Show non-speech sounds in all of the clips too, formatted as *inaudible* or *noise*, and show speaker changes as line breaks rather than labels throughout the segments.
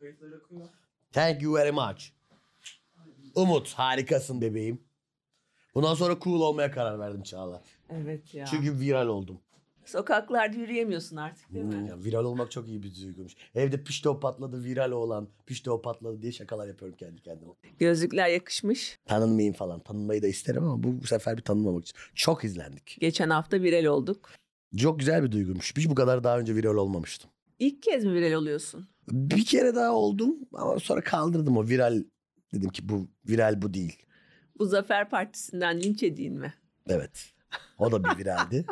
Kayıtları akıyor.
*laughs* Thank you very much. Umut harikasın bebeğim. Bundan sonra cool olmaya karar verdim Çağla.
Evet ya.
Çünkü viral oldum.
Sokaklarda yürüyemiyorsun artık değil mi?
Hmm, ya viral olmak çok iyi bir duyguymuş. Evde pişto patladı viral olan pişto patladı diye şakalar yapıyorum kendi kendime.
Gözlükler yakışmış.
Tanınmayayım falan. Tanınmayı da isterim ama bu, bu sefer bir tanınmamak için. Çok izlendik.
Geçen hafta viral olduk.
Çok güzel bir duyguymuş. Hiç bu kadar daha önce viral olmamıştım.
İlk kez mi viral oluyorsun?
Bir kere daha oldum ama sonra kaldırdım o viral. Dedim ki bu viral bu değil.
Bu Zafer Partisi'nden linç edeyim mi?
Evet. O da bir
*laughs*
viraldi.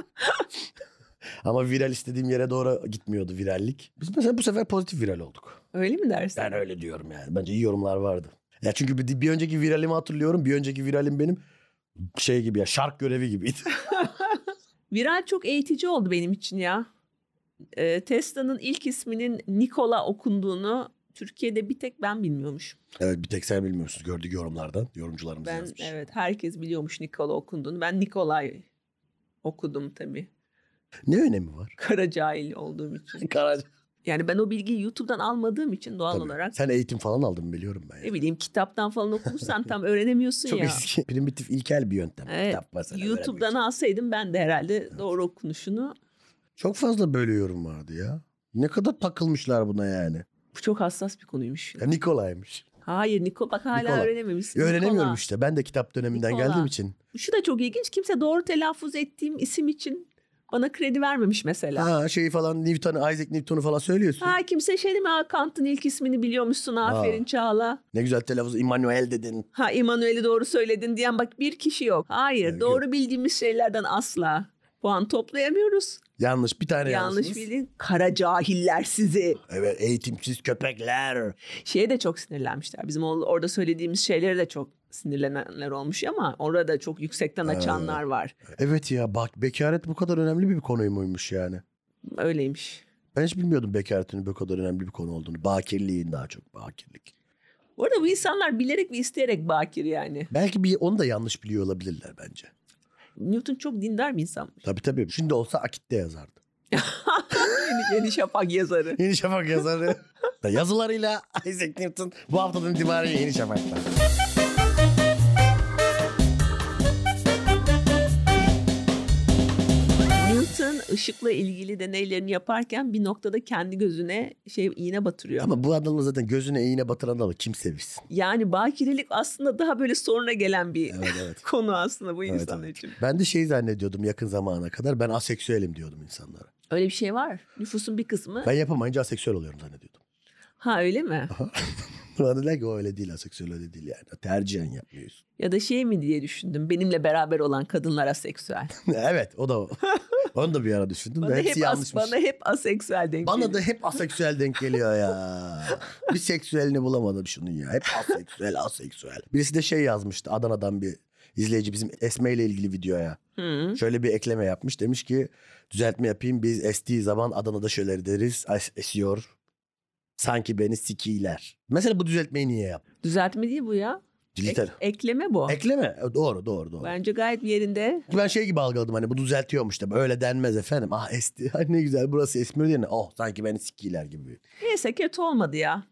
Ama viral istediğim yere doğru gitmiyordu virallik. Biz mesela bu sefer pozitif viral olduk.
Öyle mi dersin?
Ben öyle diyorum yani. Bence iyi yorumlar vardı. Ya çünkü bir, bir önceki viralimi hatırlıyorum. Bir önceki viralim benim şey gibi ya şark görevi gibiydi. *laughs*
Viral çok eğitici oldu benim için ya. Ee, Tesla'nın ilk isminin Nikola okunduğunu Türkiye'de bir tek ben bilmiyormuşum.
evet bir tek sen bilmiyorsun gördük yorumlardan. Yorumcularımız
Ben
yazmış.
evet herkes biliyormuş Nikola okunduğunu. Ben Nikolay okudum tabii.
Ne önemi
*laughs*
var? Hani
Kara cahil olduğum için.
Karaca.
Yani ben o bilgiyi YouTube'dan almadığım için doğal
Tabii.
olarak
Sen eğitim falan aldın biliyorum ben. ya.
ne bileyim kitaptan falan okursan tam öğrenemiyorsun
Çok
ya.
eski. *laughs* Primitif ilkel bir yöntem.
Evet.
Kitap mesela şey. öğrenmek
YouTube'dan
için.
alsaydım ben de herhalde doğru okunuşunu.
Çok fazla böyle yorum vardı ya. Ne kadar takılmışlar buna yani.
Bu çok hassas bir konuymuş.
Ya Nikolay'mış.
Hayır Nikola bak hala
Nikola.
öğrenememişsin.
Ya Öğrenemiyorum
Nikola.
işte. Ben de kitap döneminden
Nikola.
geldiğim için.
Şu da çok ilginç. Kimse doğru telaffuz ettiğim isim için bana kredi vermemiş mesela. Ha,
Ha şeyi falan Newton'u, Isaac Newton'u falan söylüyorsun.
kimse şey değil mi? Ha, Kant'ın ilk ismini biliyormuşsun. Aferin
Ha.
Çağla.
Ne güzel telaffuz Immanuel dedin.
Ha İmanuel'i doğru söyledin diyen bak bir kişi yok. Hayır
Evet,
doğru bildiğimiz şeylerden asla puan toplayamıyoruz.
Yanlış bir tane
Yanlış
yanlışsınız.
bildin. Kara cahiller sizi.
Evet eğitimsiz köpekler.
Şeye de çok sinirlenmişler. Bizim o- orada söylediğimiz şeylere de çok sinirlenenler olmuş ama orada çok yüksekten açanlar var.
Evet ya bak bekaret bu kadar önemli bir konu muymuş yani?
Öyleymiş.
Ben hiç bilmiyordum bekaretin bu kadar önemli bir konu olduğunu. Bakirliğin daha çok bakirlik.
Bu arada bu insanlar bilerek ve isteyerek bakir yani.
Belki bir onu da yanlış biliyor olabilirler bence.
Newton çok dindar bir *laughs* insanmış.
Tabii tabii. Şimdi olsa Akit'te yazardı. *laughs*
Yeni, yeni Şafak yazarı.
Yeni Şafak
*laughs*
yazarı. Yazılarıyla Isaac Newton bu haftadan itibaren Yeni Şafak'ta.
Newton ışıkla ilgili deneylerini yaparken bir noktada kendi gözüne şey iğne batırıyor.
Ama bu adamla zaten gözüne iğne batıran adamı kim sevsin?
Yani bakirelilik aslında daha böyle sonra gelen bir
Evet evet.
konu aslında bu
Evet,
insanlar
evet.
için.
Ben de şey zannediyordum yakın zamana kadar. Ben aseksüelim diyordum insanlara.
Öyle bir şey var. Nüfusun bir kısmı.
Ben yapamayınca aseksüel oluyorum zannediyordum. *laughs*
Ha öyle mi?
Bana dediler ki o öyle değil aseksüel öyle değil yani. Tercihen yapmıyorsun. *laughs*
Ya da şey mi diye düşündüm. Benimle beraber olan kadınlar aseksüel.
evet o da o. Onu da bir ara düşündüm
Bana
de *laughs*
hep,
hepsi
as,
yanlışmış.
bana hep aseksüel denk
Bana
geliyor.
da hep aseksüel denk geliyor ya. Bir seksüelini bulamadım şunun ya. Hep aseksüel aseksüel. Birisi de şey yazmıştı Adana'dan bir izleyici bizim Esme ile ilgili videoya.
Hı.
Şöyle bir ekleme yapmış. Demiş ki düzeltme yapayım. Biz estiği zaman Adana'da şöyle deriz. "Es- Esiyor. Sanki beni sikiler. Mesela bu düzeltmeyi niye yap?
Düzeltme değil bu ya.
Diliter.
Ek- ekleme bu.
Ekleme. E, Doğru doğru doğru. Ben...
Bence gayet bir yerinde.
şey gibi algıladım hani bu düzeltiyormuş da öyle denmez efendim. Ah esti *laughs* Ay ne güzel burası esmiyor diye. Oh sanki beni sikiler gibi.
Neyse kötü olmadı ya.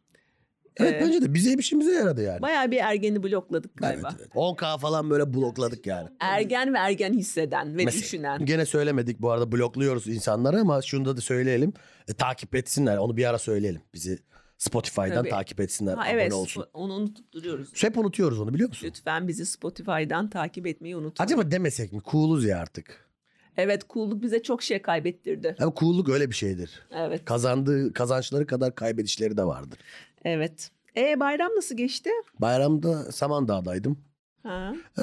Evet
Ee,
bence de bize işimize yaradı yani.
Bayağı bir ergeni blokladık galiba.
Evet, evet. 10K falan böyle blokladık yani.
Ergen ve ergen hisseden ve
Mesela-
düşünen.
Gene söylemedik bu arada blokluyoruz insanları ama şunu da, da söyleyelim. E, takip etsinler onu bir ara söyleyelim. Bizi Spotify'dan
Tabii.
takip etsinler.
Ha
abone
evet
olsun.
Spo- onu unutup duruyoruz.
Hep unutuyoruz onu biliyor musun?
Lütfen bizi Spotify'dan takip etmeyi unutmayın.
Acaba demesek mi? Cool'uz ya artık.
Evet cool'luk bize çok şey kaybettirdi.
Ama cool'luk öyle bir şeydir.
Evet.
Kazandığı kazançları kadar kaybedişleri de vardır.
Evet. E bayram nasıl geçti?
Bayramda Samandağ'daydım.
Ha.
Ee,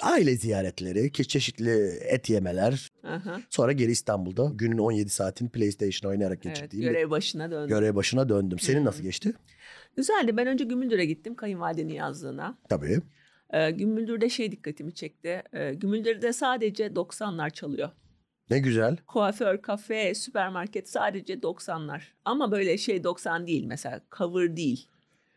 aile ziyaretleri, ke- çeşitli et yemeler.
Aha.
Sonra geri İstanbul'da günün 17 saatini PlayStation oynayarak
Evet,
geçirdiğim bir
görev başına döndü.
görev başına döndüm. Senin nasıl geçti?
Güzeldi. Ben önce Gümüldür'e gittim kayınvalidenin yazlığına.
Tabii.
Ee, Gümüldür'de şey dikkatimi çekti. Ee, Gümüldür'de sadece 90'lar çalıyor.
Ne güzel.
Kuaför, kafe, süpermarket sadece 90'lar. Ama böyle şey 90 değil mesela cover değil.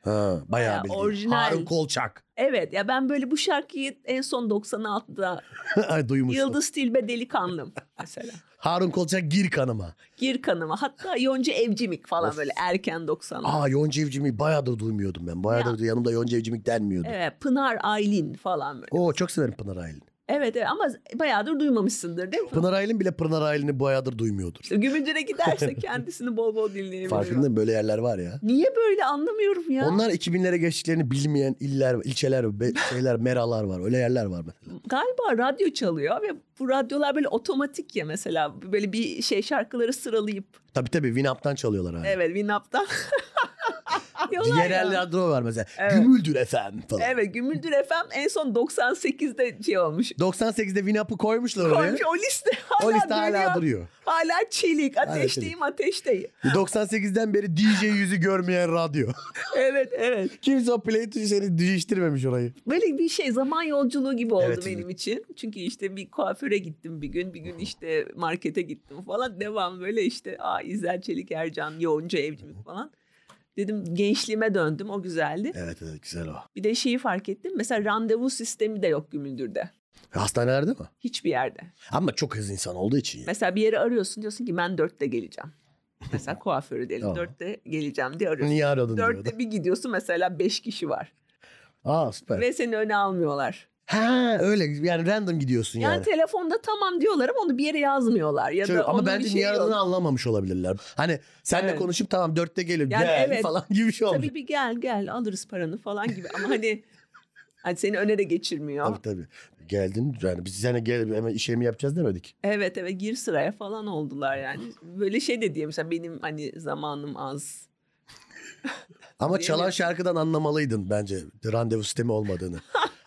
Ha, bayağı
Ya,
bildiğin.
orijinal.
Harun Kolçak. *laughs*
Evet ya ben böyle bu şarkıyı en son 96'da
Ay duymuştum. *laughs*
Yıldız Tilbe Delikanlım mesela.
Harun Kolçak gir kanıma.
Gir kanıma. Hatta Yonca Evcimik falan
Of.
böyle erken 90'lar.
Aa Yonca Evcimik'i bayağıdır duymuyordum ben. Bayağıdır yanımda Yonca Evcimik denmiyordu.
Evet Pınar Aylin falan böyle.
Oo çok severim Pınar Aylin.
Evet, evet ama bayağıdır duymamışsındır değil mi?
Pınar Aylin bile Pınar Aylin'i bayağıdır duymuyordur.
İşte
*laughs*
Gümüncü'ne giderse kendisini bol bol dinleyebilirim.
Farkında mısın? böyle yerler var ya.
Niye böyle anlamıyorum ya.
Onlar 2000'lere geçtiklerini bilmeyen iller, ilçeler,
*laughs*
be- şeyler, meralar var. Öyle yerler var mesela.
Galiba radyo çalıyor ve bu radyolar böyle otomatik ya mesela. Böyle bir şey şarkıları sıralayıp.
Tabii tabii Winamp'tan çalıyorlar abi.
Evet *laughs* Winup'tan. Diyorlar ya.
Yerel radyo var mesela.
Evet.
Gümüldür FM falan.
Evet Gümüldür FM en son 98'de şey olmuş.
98'de Winamp'ı koymuşlar oraya.
Komşu o liste hala,
o liste
dönüyor.
hala duruyor.
Hala çelik. Ateşteyim ateşteyim.
98'den beri DJ yüzü görmeyen radyo.
Evet evet.
Kimse o play tuşunu değiştirmemiş orayı.
Böyle bir şey zaman yolculuğu gibi oldu
Evet,
benim
evet.
için. Çünkü işte bir kuaföre gittim bir gün. Bir gün işte markete gittim falan. Devam böyle işte Aa, İzel Çelik Ercan, Yoğuncu Evcimik falan. Dedim gençliğime döndüm o güzeldi.
Evet evet güzel o.
Bir de şeyi fark ettim. Mesela randevu sistemi de yok Gümüldür'de.
Hastanelerde mi?
Hiçbir yerde.
Ama çok hızlı insan olduğu için. ya.
Mesela bir yere arıyorsun diyorsun ki ben dörtte geleceğim.
*laughs*
Mesela kuaförü diyelim
Tamam.
dörtte geleceğim diye arıyorsun.
Niye aradın diyordu.
Dörtte bir gidiyorsun mesela beş kişi var.
Aa süper.
Ve seni öne almıyorlar.
Ha öyle yani random gidiyorsun
Yani,
yani.
telefonda tamam diyorlar ama onu bir yere yazmıyorlar. Ya
Şöyle-
da
ama
onun
bence
bir
niye
şeyi yok.
aradığını anlamamış olabilirler. Hani senle
Evet.
konuşup tamam dörtte gelir
Yani
gel
evet.
falan gibi bir şey olmuş.
Tabii bir gel gel alırız paranı falan gibi
*laughs*
ama hani, hani seni öne de geçirmiyor.
Tabii tabii. Geldin yani biz sana gel hemen işlemi yapacağız demedik.
Evet evet gir sıraya falan oldular yani. Böyle şey de diyeyim mesela benim hani zamanım az.
Ama
Değil
çalan
mi?
şarkıdan anlamalıydın bence randevu sistemi
*laughs*
olmadığını.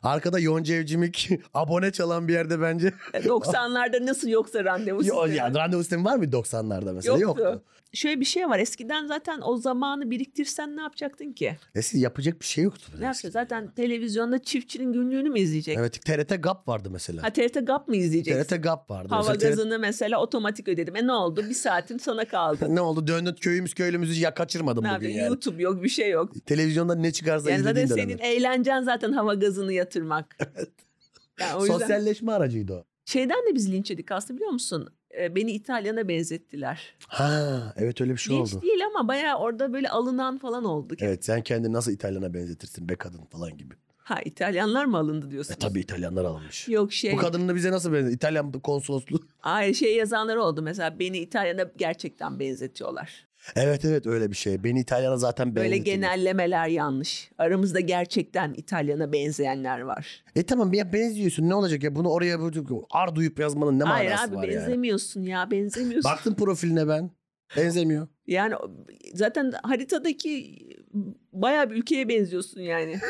Arkada Yonca Evcimik *laughs* abone çalan bir yerde bence. *laughs*
E, 90'larda nasıl yoksa randevu
Yo,
sistemi.
yani randevu sistemi var mı 90'larda mesela?
Yoktu.
Yoktu.
Şöyle bir şey var. Eskiden zaten o zamanı biriktirsen ne yapacaktın ki?
Eski yapacak bir şey yoktu.
Ne yapacaksın? Zaten televizyonda çiftçinin günlüğünü mü izleyeceksin?
Evet TRT GAP vardı mesela.
Ha TRT GAP mı izleyeceksin?
TRT GAP vardı.
Hava
Mesela TRT
gazını mesela otomatik ödedim. E ne oldu? Bir saatim
*laughs*
sana kaldı.
Ne oldu döndün köyümüz köylümüzü ya kaçırmadım
ne
bugün
yapayım?
yani.
YouTube yok, bir şey *laughs* yok.
Televizyonda ne çıkarsa
Yani zaten
izlediğin
senin
dönemler.
eğlencen zaten hava
*laughs*
gazını yatırmak. Yani o yüzden
Sosyalleşme aracıydı o.
şeyden de biz linç yedik aslında biliyor musun? E, beni İtalyan'a benzettiler.
Ha evet öyle bir şey
linç
oldu.
değil ama bayağı orada böyle alınan falan olduk.
Evet sen kendini nasıl İtalyan'a benzetirsin be kadın falan gibi.
Ha İtalyanlar mı alındı diyorsun?
E tabii İtalyanlar almış.
Yok şey.
Bu kadını bize nasıl benzer? İtalyan konsolosluğu. *laughs*
Hayır şey yazanlar oldu mesela beni İtalyan'a gerçekten benzetiyorlar.
Evet evet öyle bir şey. Beni İtalyan'a zaten
Böyle
benzettiler.
genellemeler yanlış. Aramızda gerçekten İtalyan'a benzeyenler var.
E tamam ya benziyorsun ne olacak ya bunu oraya bu- ar duyup yazmanın ne
Hayır
manası
abi
var yani.
benzemiyorsun ya benzemiyorsun.
Baktım profiline ben. Benzemiyor.
Yani o- zaten haritadaki bayağı bir ülkeye benziyorsun yani. *laughs*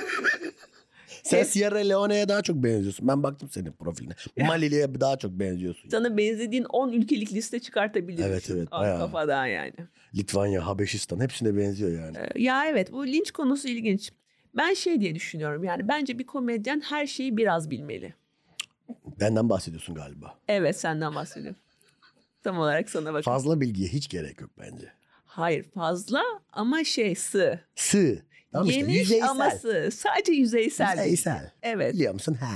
Sen
Hep-
Sierra Leone'ye daha çok benziyorsun. Ben baktım senin profiline. Malili'ye daha çok benziyorsun.
Sana benzediğin 10 ülkelik liste çıkartabilirim.
Evet, evet,
Al
bayağı.
Kafadan yani.
Litvanya, Habeşistan hepsine benziyor yani.
Ee, Ya evet bu linç konusu ilginç. Ben şey diye düşünüyorum yani bence bir komedyen her şeyi biraz bilmeli.
Benden bahsediyorsun galiba.
Evet senden bahsediyorum. Tam olarak sana bakın.
Fazla bilgiye hiç gerek yok bence.
Hayır fazla ama şey sığ.
Sığ. Tamam işte,
Geniş
yüzeysel.
ama sığ. Sadece yüzeysel. bilgi.
Yüzeysel.
Evet.
Biliyor musun? Ha.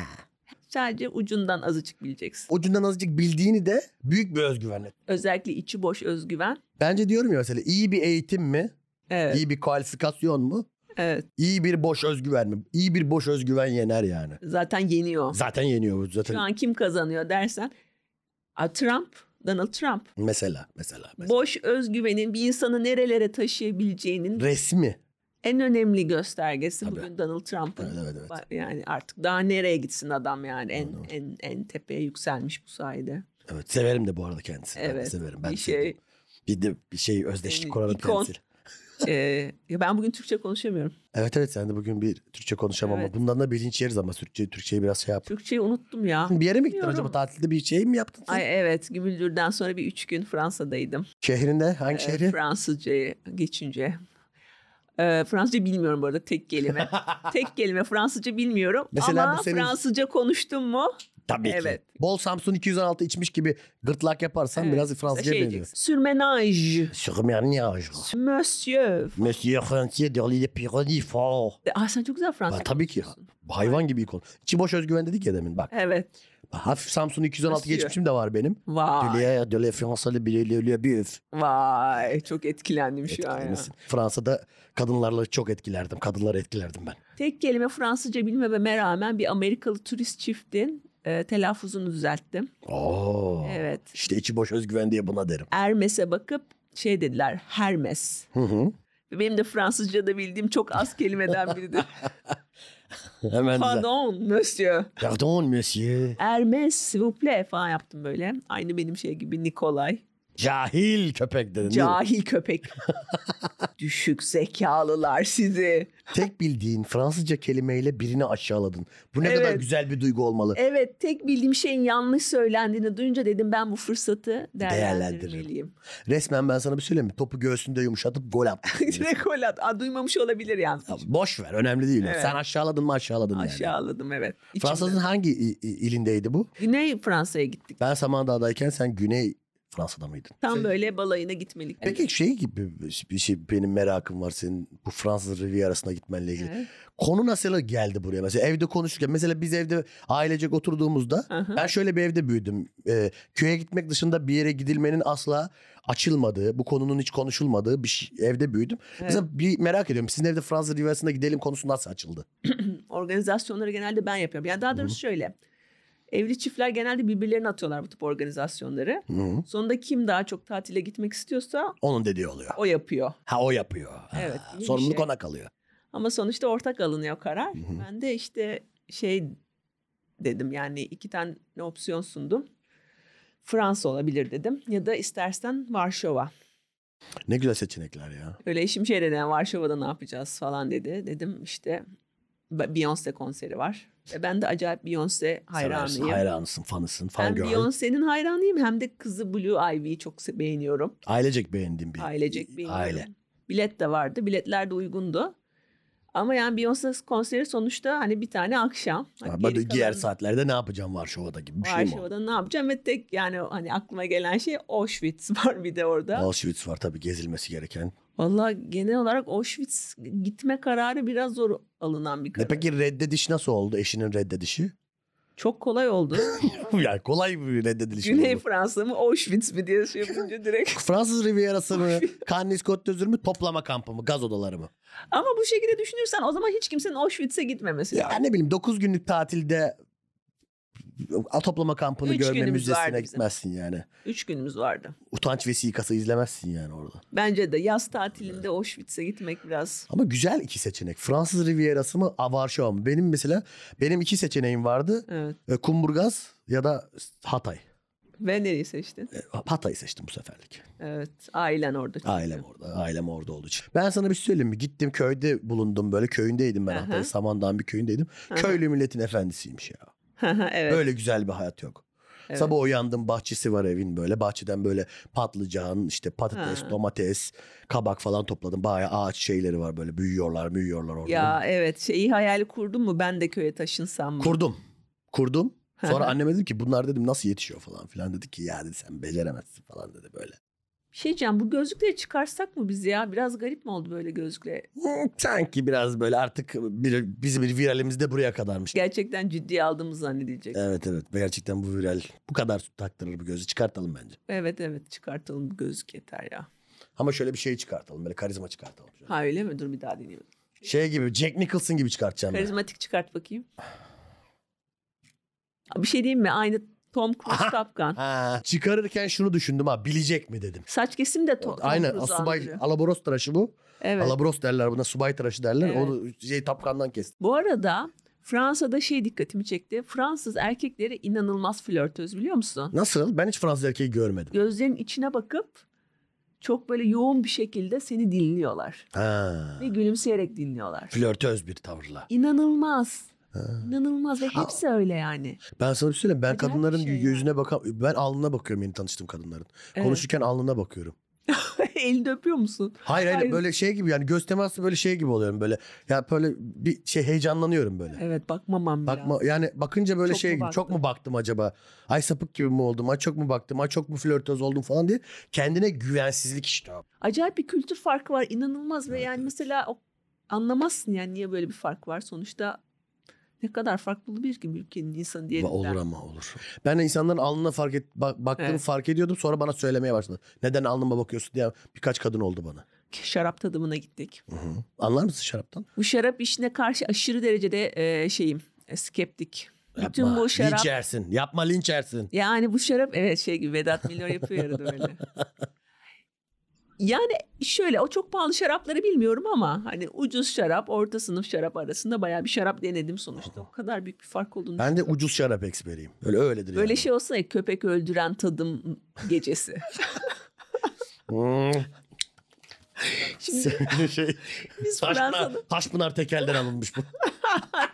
Sadece ucundan azıcık bileceksin.
Ucundan azıcık bildiğini de büyük bir özgüvenle.
Özellikle içi boş özgüven.
Bence diyorum ya mesela iyi bir eğitim mi?
Evet.
İyi bir kualifikasyon mu?
evet.
İyi bir boş özgüven mi? İyi bir boş özgüven yener yani.
Zaten yeniyor.
Zaten yeniyor zaten.
Şu an kim kazanıyor dersen. A, Trump, Donald Trump.
Mesela, mesela, mesela.
Boş özgüvenin bir insanı nerelere taşıyabileceğinin
Resmi.
en önemli göstergesi
Tabii.
bugün Donald Trump'ın.
Evet, evet, evet.
Ba- Yani artık daha nereye gitsin adam yani en
Doğru.
en en tepeye yükselmiş bu sayede. *laughs*
Evet, severim de bu arada kendisini. Ben de
Evet,
severim. Ben
bir
bir
şey.
şey. Bir de bir şey özdeşlik
Senin
kuran
ikon.
kendisi.
Ee, ya ben bugün Türkçe konuşamıyorum.
Evet evet sen de bugün bir Türkçe konuşamam
Evet.
ama bundan da bilinç yeriz ama Türkçe, Türkçeyi biraz şey yap.
Türkçeyi
*laughs*
unuttum ya.
Bir yere mi gittin
Bilmiyorum.
acaba tatilde bir şey mi yaptın? sen?
Ay evet Gümüldür'den sonra bir üç gün Fransa'daydım.
Şehrinde hangi
Ee,
şehri?
Fransızca'ya geçince. Ee, Fransızca bilmiyorum bu arada
*laughs*
tek kelime. tek kelime Fransızca bilmiyorum
Mesela
ama
bu senin-
Fransızca konuştum mu?
Tabii
Evet.
ki. Bol Samsun 216 içmiş gibi gırtlak yaparsan
Evet.
biraz Fransızca
şey
benziyor.
diyeceksin. Surmenage.
Sürmerniyaj.
Monsieur.
Monsieur Francier dans les Pyrénées fort.
Ah sen çok güzel
Ben
Fransızca
tabii ki
konuşuyorsun.
hayvan gibi ikon. İçi boş özgüven dedik ya demin bak.
Evet.
Hafif Samsun 216
Kasıyor.
geçmişim de var benim.
Vay.
Dünya de la Fransalı bile le bir öf.
Vay. Çok etkilendim şu an ya.
Etkilenirsin. Fransa'da kadınlarla çok etkilerdim. Kadınları etkilerdim ben.
Tek kelime Fransızca bilmememe rağmen bir Amerikalı turist çiftin e, telaffuzunu düzelttim.
Oo.
Evet.
İşte içi boş özgüven diye buna derim.
Hermes'e bakıp şey dediler Hermes.
Hı hı.
Benim de Fransızca'da bildiğim çok az kelimeden biridir.
Hemen *laughs* güzel.
Pardon monsieur.
Pardon monsieur.
Hermes s'il vous plaît falan yaptım böyle. Aynı benim şey gibi Nikolay.
Cahil köpek dedin değil mi?
Cahil
*laughs*
köpek. Düşük zekalılar sizi.
Tek bildiğin Fransızca kelimeyle birini aşağıladın. Bu ne kadar
Evet.
güzel bir duygu olmalı.
Evet tek bildiğim şeyin yanlış söylendiğini duyunca dedim ben bu fırsatı değerlendirmeliyim.
Resmen ben sana bir söyleyeyim mi? Topu göğsünde yumuşatıp gol
*laughs*
attın.
*laughs* Direkt gol at. Aa, duymamış olabilir yalnız.
Ya boş ver önemli değil.
Evet.
Sen aşağıladın mı aşağıladın yani.
Aşağıladım evet. İçimde.
Fransa'nın hangi i- i- ilindeydi bu?
Güney Fransa'ya gittik.
Ben Samandağ'dayken sen Güney Fransa'da mıydın?
Tam böyle balayına gitmelik.
Şey- Peki şey gibi bir şey benim merakım var senin bu Fransız Riviera'sına gitmenle ilgili.
Evet.
Konu nasıl geldi buraya? Mesela evde konuşurken mesela biz evde ailecek oturduğumuzda
Aha.
ben şöyle bir evde büyüdüm. Ee, köye gitmek dışında bir yere gidilmenin asla açılmadığı, bu konunun hiç konuşulmadığı bir şey- evde büyüdüm. Mesela bir merak ediyorum sizin evde Fransız Riviera'sına gidelim konusu nasıl açıldı?
Organizasyonları genelde ben yapıyorum. Yani daha doğrusu şöyle. Evli çiftler genelde birbirlerine atıyorlar bu tip organizasyonları.
Hı.
Sonunda kim daha çok tatile gitmek istiyorsa
Onun dediği oluyor.
o yapıyor.
Ha o yapıyor. Ha,
Evet, iyi bir
sorumluluk
şey.
ona kalıyor.
Ama sonuçta ortak alınıyor karar.
Hı hı.
Ben de işte şey dedim yani iki tane opsiyon sundum. Fransa olabilir dedim ya da istersen Varşova.
Ne güzel seçenekler ya.
Öyle eşim şey dedi "Yani Varşova'da ne yapacağız falan dedi. Dedim işte Be- Beyoncé konseri var. Ve ben de acayip Beyoncé
Seversin,
hayranıyım.
hayranısın, fanısın, fan
Hem
girl.
Beyoncé'nin hayranıyım hem de kızı Blue Ivy'yi çok se- beğeniyorum.
Ailecek beğendiğim bir
Ailecek beğeniyorum.
aile.
Bilet de vardı. Biletler de uygundu. Ama yani Beyoncé konseri sonuçta hani bir tane akşam. Hani
Ama
geri
diğer
kalan
saatlerde ne yapacağım Varşova'da gibi bir şey mi? o?
Varşova'da ne yapacağım ve tek yani hani aklıma gelen şey Auschwitz *laughs* var bir de orada.
Auschwitz var tabii gezilmesi gereken. E
Vallahi genel olarak Auschwitz gitme kararı biraz zor alınan bir
Ne
karar.
peki reddediş nasıl oldu? Eşinin reddedişi? *laughs*
Çok kolay oldu.
yani kolay bir reddediliş
Güney
oldu.
Fransa mı Auschwitz mi diye şey
*laughs*
yapınca direkt.
Fransız Riviera'sı *laughs* mı? Cannes Côte d'Azur mu? Toplama kampı mı? Gaz odaları mı?
Ama bu şekilde düşünürsen o zaman hiç kimsenin Auschwitz'e gitmemesi.
Ya ne bileyim 9 günlük tatilde a- toplama kampını
Üç
görme
günümüz vardı
müzesine
bizim.
gitmezsin yani.
Üç günümüz vardı.
Utanç vesikası izlemezsin yani orada.
Bence de yaz tatilinde Auschwitz'e gitmek biraz.
Ama güzel iki seçenek. Fransız Riviera'sı mı? a, Varşova mı? Benim mesela benim iki seçeneğim vardı.
Evet.
E, Kumburgaz ya da Hatay.
Ve nereyi seçtin?
E, Hatay'ı seçtim bu seferlik.
Evet. Ailen orada. çünkü. *laughs*
Ailem orada. Ailem orada olduğu için. Ben sana bir şey söyleyeyim mi? Gittim köyde bulundum böyle. Köyündeydim ben
Aha.
Hatay'ın. Samandağ'ın bir köyündeydim.
Aha.
Köylü milletin efendisiymiş ya.
evet.
Öyle güzel bir hayat yok.
Evet.
Sabah uyandım bahçesi var evin böyle. Bahçeden böyle patlıcan, işte patates,
Ha.
domates, kabak falan topladım. Bayağı ağaç şeyleri var böyle büyüyorlar, büyüyorlar orada.
Ya evet şeyi hayali kurdum mu ben de köye taşınsam mı?
Kurdum. Kurdum. Sonra
Hı hı.
anneme dedim ki bunlar dedim nasıl yetişiyor falan filan dedi ki ya dedi sen beceremezsin falan dedi böyle.
Bir şey diyeceğim bu gözlükleri çıkarsak mı biz ya? Biraz garip mi oldu böyle gözlükle?
Hı, Hmm, Sanki biraz böyle artık bir, bizim bir viralimiz de buraya kadarmış.
Gerçekten ciddiye aldığımız zannedilecek.
Evet evet gerçekten bu viral bu kadar taktırır bu gözü çıkartalım bence.
Evet evet çıkartalım bu gözlük yeter ya.
Ama şöyle bir şey çıkartalım böyle karizma çıkartalım. Şöyle.
Ha öyle mi? Dur bir daha deneyeyim.
Şey gibi Jack Nicholson gibi çıkartacağım. ben.
Karizmatik çıkart bakayım. Aa, Bir şey diyeyim mi? Aynı Tom Cruise Top Gun.
Ha, çıkarırken şunu düşündüm ha bilecek mi dedim.
Saç kesim de to- Tom
Aynen
Cruise'u
asubay
andırıyor.
alabros tıraşı bu.
Evet.
Alabros derler buna subay tıraşı derler.
Evet.
O şey tapkandan kestim.
Bu arada Fransa'da şey dikkatimi çekti. Fransız erkekleri inanılmaz flörtöz biliyor musun?
Nasıl? Ben hiç Fransız erkeği görmedim.
Gözlerinin içine bakıp çok böyle yoğun bir şekilde seni dinliyorlar.
Ha.
Ve gülümseyerek dinliyorlar.
Flörtöz bir tavırla.
İnanılmaz.
Ha.
İnanılmaz ve hepsi öyle yani.
Ben sana bir şey söyleyeyim. Ben
Acayip bir
kadınların
şey
yüzüne bakam ben alnına bakıyorum yeni tanıştığım kadınların.
Evet.
Konuşurken alnına bakıyorum.
Ee, *laughs* Elini öpüyor musun?
Hayır hayır
Hayır.
böyle şey gibi yani göz teması böyle şey gibi oluyorum böyle. Ya böyle bir şey heyecanlanıyorum böyle.
Evet bakmamam
Bakma
lazım.
yani bakınca böyle
Çok
şey
mu
gibi çok
baktım?
mu baktım acaba? Ay sapık gibi mi oldum? Ay çok mu baktım? Ay çok mu flörtöz oldum falan diye kendine güvensizlik işte. o.
Acayip bir kültür farkı var. inanılmaz ve
Evet,
yani
evet.
mesela o, anlamazsın yani niye böyle bir fark var. Sonuçta Ne kadar farklı bir ki ülkenin insanı diyelim.
Olur ama olur. Ben de insanların alnına fark et, bak- baktığını
Evet.
fark ediyordum. Sonra bana söylemeye başladı. Neden alnıma bakıyorsun diye birkaç kadın oldu bana.
Şarap tadımına gittik.
Anlar mısın şaraptan?
Bu şarap işine karşı aşırı derecede e, şeyim e, skeptik. Bütün
Yapma.
bu şarap
Linç yersin. Yapma linç yersin.
Yani bu şarap evet şey gibi Vedat Milor yapıyor arada böyle. Yani şöyle o çok pahalı şarapları bilmiyorum ama hani ucuz şarap, orta sınıf şarap arasında bayağı bir şarap denedim sonuçta. O kadar büyük bir fark olduğunu.
Ben de ucuz şarap eksperiyim. Öyle öyledir
Böyle
yani.
şey olsa ya, köpek öldüren tadım
*laughs*
gecesi. *laughs*
Hmm.
Şimdi
*laughs* şey,
biz
Taşpınar,
Fransa'da
Taşpınar tekelden alınmış bu.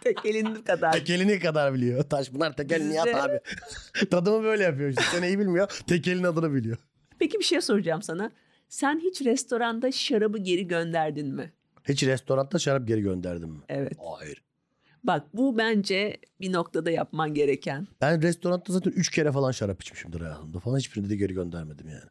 tek elinin
*laughs*
kadar.
Tekeli ne kadar biliyor? Taşpınar tekel
Bizde-
Nihat abi. *laughs* Tadımı böyle yapıyor işte. Seneyi bilmiyor. Tekelin adını biliyor.
Peki bir şey soracağım sana. Sen hiç restoranda şarabı geri gönderdin mi?
Hiç restoranda şarap geri gönderdim mi?
Evet.
Hayır.
Bak bu bence bir noktada yapman gereken.
Ben restoranda zaten 3 kere falan şarap içmişimdir hayatımda falan. Hiçbirini de geri göndermedim yani.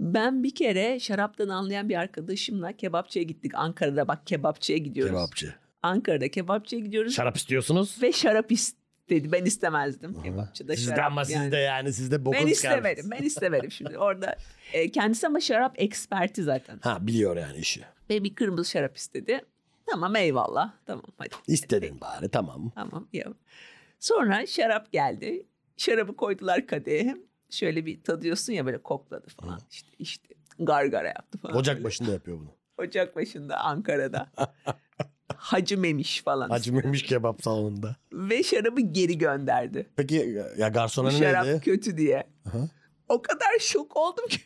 Ben bir kere şaraptan anlayan bir arkadaşımla kebapçıya gittik. Ankara'da bak kebapçıya gidiyoruz.
Kebapçı.
Ankara'da kebapçıya gidiyoruz
*laughs* Şarap istiyorsunuz.
ve şarap istedi. Ben istemezdim kebapçıda
Sizde
şarap.
ama
yani.
sizde yani sizde bokun
Ben
çıkarmışsınız.
istemedim. Ben istemedim şimdi orada. E, kendisi ama şarap eksperti zaten.
Ha biliyor yani işi.
Ve bir kırmızı şarap istedi. Tamam eyvallah. Tamam hadi.
İstedin bari tamam.
Tamam ya. Sonra şarap geldi. Şarabı koydular kadehe. Şöyle bir tadıyorsun ya böyle kokladı falan. İşte işte gargara yaptı falan.
Ocak
Böyle.
başında yapıyor bunu.
Ocak
*laughs*
başında Ankara'da. Hacı Memiş falan.
Hacı Memiş kebap salonunda.
Ve şarabı geri gönderdi.
Peki ya garsona
Bu
ne
şarap
neydi?
kötü diye.
Aha.
O kadar şok oldum ki.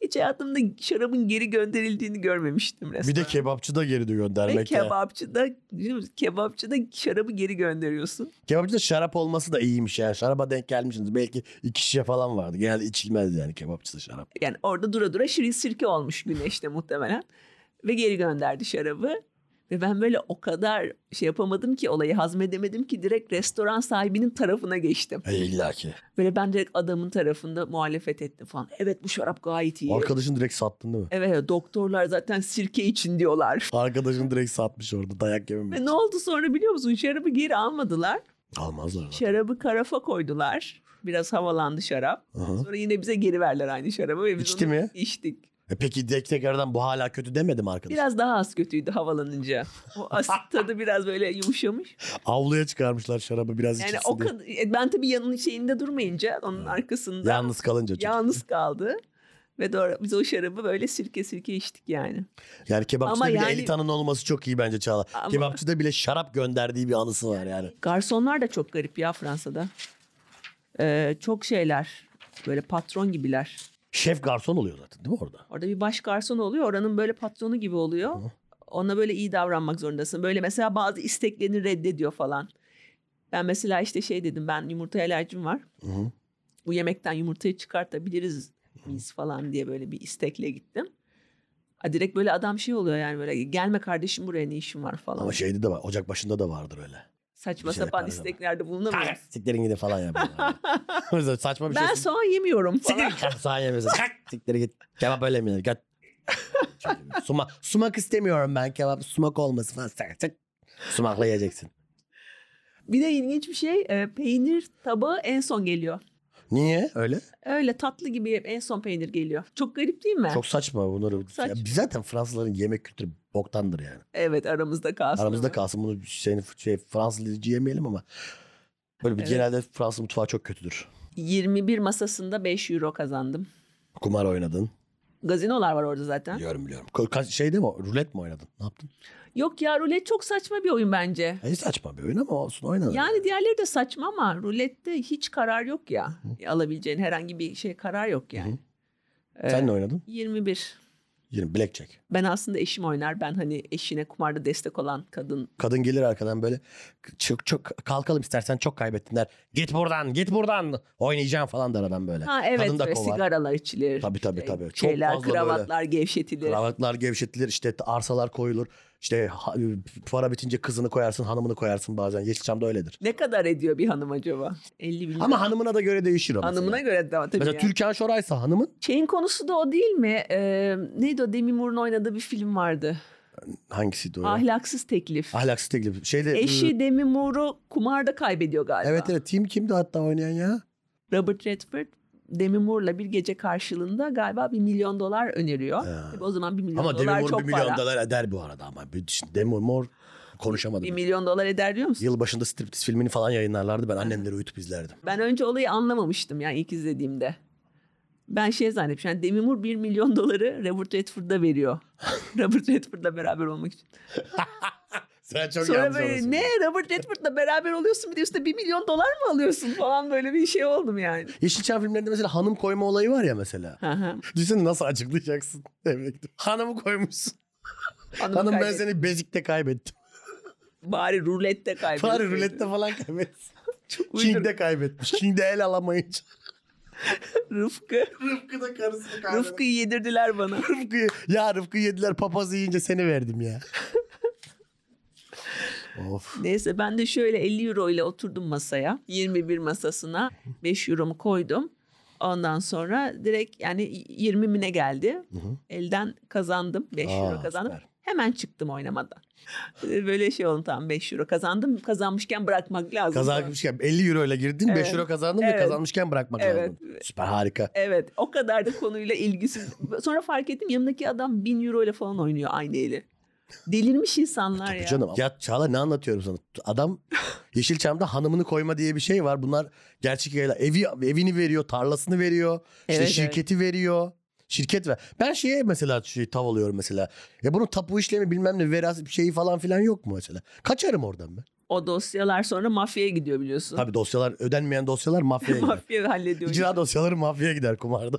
Hiç hayatımda şarabın geri gönderildiğini görmemiştim resmen.
Bir de kebapçı da geri de
Ve
göndermek. ya.
kebapçıda, kebapçıda şarabı geri gönderiyorsun.
Kebapçıda şarap olması da iyiymiş yani. Şaraba denk gelmişsiniz. Belki iki şişe falan vardı. Genelde içilmez yani kebapçıda şarap.
Yani orada dura dura şirin sirke olmuş güneşte muhtemelen. Ve geri gönderdi şarabı. Ve ben böyle o kadar şey yapamadım ki olayı hazmedemedim ki direkt restoran sahibinin tarafına geçtim.
E, İlla ki.
Böyle ben direkt adamın tarafında muhalefet ettim falan. Evet bu şarap gayet iyi.
Arkadaşın direkt sattın değil mi?
Evet evet, doktorlar zaten sirke
*laughs*
için diyorlar.
Arkadaşın direkt satmış orada dayak yememiş.
Ve ne oldu sonra biliyor musun? Şarabı geri almadılar.
Almazlar. zaten.
Şarabı karafa koydular. Biraz havalandı şarap.
Aha.
Sonra yine bize geri verdiler aynı şarabı. Ve biz
İçti
onu
mi?
içtik.
E peki tek tekrardan bu hala kötü demedim arkadaş.
Biraz daha az kötüydü havalanınca. O
*laughs*
asit tadı biraz böyle yumuşamış.
Avluya çıkarmışlar şarabı biraz
Yani
içilsin
o
diye.
kadar, ben tabii yanının şeyinde durmayınca onun arkasında
Yalnız kalınca çocuk.
yalnız kaldı. Ve doğru biz o şarabı böyle sirke sirke içtik yani.
Yani kebapçıda
Ama
bile
yani-
elitanın olması çok iyi bence Çağla.
Ama-
Kebapçıda bile şarap gönderdiği bir anısı var yani.
Garsonlar da çok garip ya Fransa'da. Ee, çok şeyler. Böyle patron gibiler.
Şef garson oluyor zaten değil mi orada?
Orada bir baş garson oluyor. Oranın böyle patronu gibi oluyor. Ona böyle iyi davranmak zorundasın. Böyle mesela bazı isteklerini reddediyor falan. Ben mesela işte şey dedim. Ben yumurta alerjim var.
Hı-hı.
Bu yemekten yumurtayı çıkartabiliriz miyiz falan diye böyle bir istekle gittim. Ha, direkt böyle adam şey oluyor yani böyle gelme kardeşim buraya ne işin var falan.
Ama şeyde de var. Ocak başında da vardır öyle.
Saçma
bir şey
sapan
yapar adam.
isteklerde bulunamıyoruz.
Kalk siktirin gidin falan
*laughs*
yapıyorlar. O yüzden Saçma bir
Ben
şey.
soğan yemiyorum falan.
Siktir
*laughs*
git. Soğan yemiyorsun. Kalk siktirin git. Kebap öyle mi? Git. Suma, sumak istemiyorum ben kebap. Sumak olmasın falan. Sık, sık. Sumakla yiyeceksin.
Bir de ilginç bir şey e, peynir tabağı en son geliyor.
Niye öyle?
Öyle tatlı gibi hep en son peynir geliyor. Çok garip değil mi?
Çok saçma bunları.
Saçma.
Ya biz zaten Fransızların yemek kültürü boktandır yani.
Evet aramızda kalsın.
Aramızda
ama.
kalsın bunu şey, şey Fransızcı yemeyelim ama. Böyle bir
Evet.
genelde Fransız mutfağı çok kötüdür.
21 masasında 5 euro kazandım.
Kumar oynadın.
Gazinolar var orada zaten.
Biliyorum biliyorum. Ko- Kaç, şeyde mi o? rulet mi oynadın? Ne yaptın?
Yok ya rulet çok saçma bir oyun bence.
E, saçma bir oyun ama olsun oynadın.
Yani diğerleri de saçma ama rulette hiç karar yok ya. Alabileceğin herhangi bir şey karar yok yani. Ee,
Sen ne oynadın?
21.
Yine blackjack.
Ben aslında eşim oynar. Ben hani eşine kumarda destek olan kadın.
Kadın gelir arkadan böyle çok çok kalkalım istersen çok kaybettin der. Git buradan git buradan oynayacağım falan der adam böyle.
Ha evet
Kadın da
böyle
kovar.
sigaralar içilir.
Tabii, tabii,
işte
tabii. Çok
Şeyler,
fazla
kravatlar gevşetilir.
Kravatlar gevşetilir işte arsalar koyulur. İşte ha- ıı, para bitince kızını koyarsın hanımını koyarsın bazen. Yeşilçam'da öyledir.
Ne kadar ediyor bir hanım acaba? 50 bin.
Ama hanımına da göre değişir o mesela.
hanımına göre de tabii.
Mesela
yani.
Türkan Şoray'sa hanımın
Şeyin konusu da o değil mi? Ee, neydi o Demi Moore'un oynadığı bir film vardı.
hangisiydi o? ya?
Ahlaksız teklif.
Ahlaksız teklif. Şeyde ıı,
Eşi Demi Moore'u kumarda kaybediyor galiba.
Evet evet Tim kimdi hatta oynayan ya?
Robert Redford Demi Moore'la bir gece karşılığında galiba bir milyon dolar öneriyor.
Ha.
Tabii o zaman bir milyon
Ama Demi
dolar
Moore
çok
bir milyon
para.
dolar eder bu arada ama. Bir- Şimdi Demi Moore konuşamadı.
Bir
bile.
milyon dolar eder diyor musun?
Yılbaşında striptiz filmini falan yayınlarlardı. Ben annemleri uyutup izlerdim.
Ben önce olayı anlamamıştım yani ilk izlediğimde. Ben şey zannetmiştim. Yani Demi Moore 1 milyon doları Robert
*laughs*
Redford'a veriyor. Robert Redford'la beraber olmak için.
Sen çok
Sonra böyle ne Robert Redford'la beraber oluyorsun bir de üstüne 1 milyon dolar mı alıyorsun falan böyle bir şey oldum yani.
Yeşilçam filmlerinde mesela hanım koyma olayı var ya mesela.
Hı hı.
Düşünsene nasıl açıklayacaksın *laughs* evine gidip. Hanımı koymuşsun.
Hanımı
Hanım ben
kaybet-
seni bezikte kaybettim.
Bari rulette kaybediyor.
Fare rulette falan kaybettim.
*laughs* Çok uyduruk.
King'de kaybetmiş. King'de el
*laughs*
alamayınca.
Rıfkı.
Rıfkı da karısını
Rıfkı'yı yedirdiler bana.
Rıfkı'yı, ya Rıfkı yediler papaz yiyince seni verdim
*laughs*
ya. of.
Neyse ben de şöyle 50 euro ile oturdum masaya. 21 masasına 5 euromu koydum. Ondan sonra direkt yani 20 mine geldi.
hı.
Elden kazandım. 5 euro
Aa,
kazandım.
süper.
Hemen çıktım oynamadan. Böyle şey oldum tamam 5 euro kazandım. Kazanmışken bırakmak lazım.
Kazanmışken 50 euro ile girdin 5
Evet.
euro kazandın ve
Evet.
kazanmışken bırakmak
Evet.
lazım. Süper harika.
Evet o kadar da konuyla ilgisiz. Sonra fark ettim yanındaki adam 1000 euro ile falan oynuyor aynı eli. Delirmiş insanlar
E, Tabii
ya.
canım. Ya Çağla ne anlatıyorum sana?
*laughs*
Adam Yeşilçam'da hanımını koyma diye bir şey var. Bunlar gerçek yayla. Evi, evini veriyor, tarlasını veriyor. işte
Evet,
şirketi veriyor. Şirket ver. Ben şeye mesela şey, tav alıyorum mesela. Ya bunun tapu işlemi bilmem ne veras şeyi falan filan yok mu mesela? Kaçarım oradan ben.
O dosyalar sonra mafyaya gidiyor biliyorsun. *laughs*
Tabii dosyalar ödenmeyen dosyalar mafyaya gider.
Mafya hallediyor.
İcra dosyaları mafyaya gider kumarda.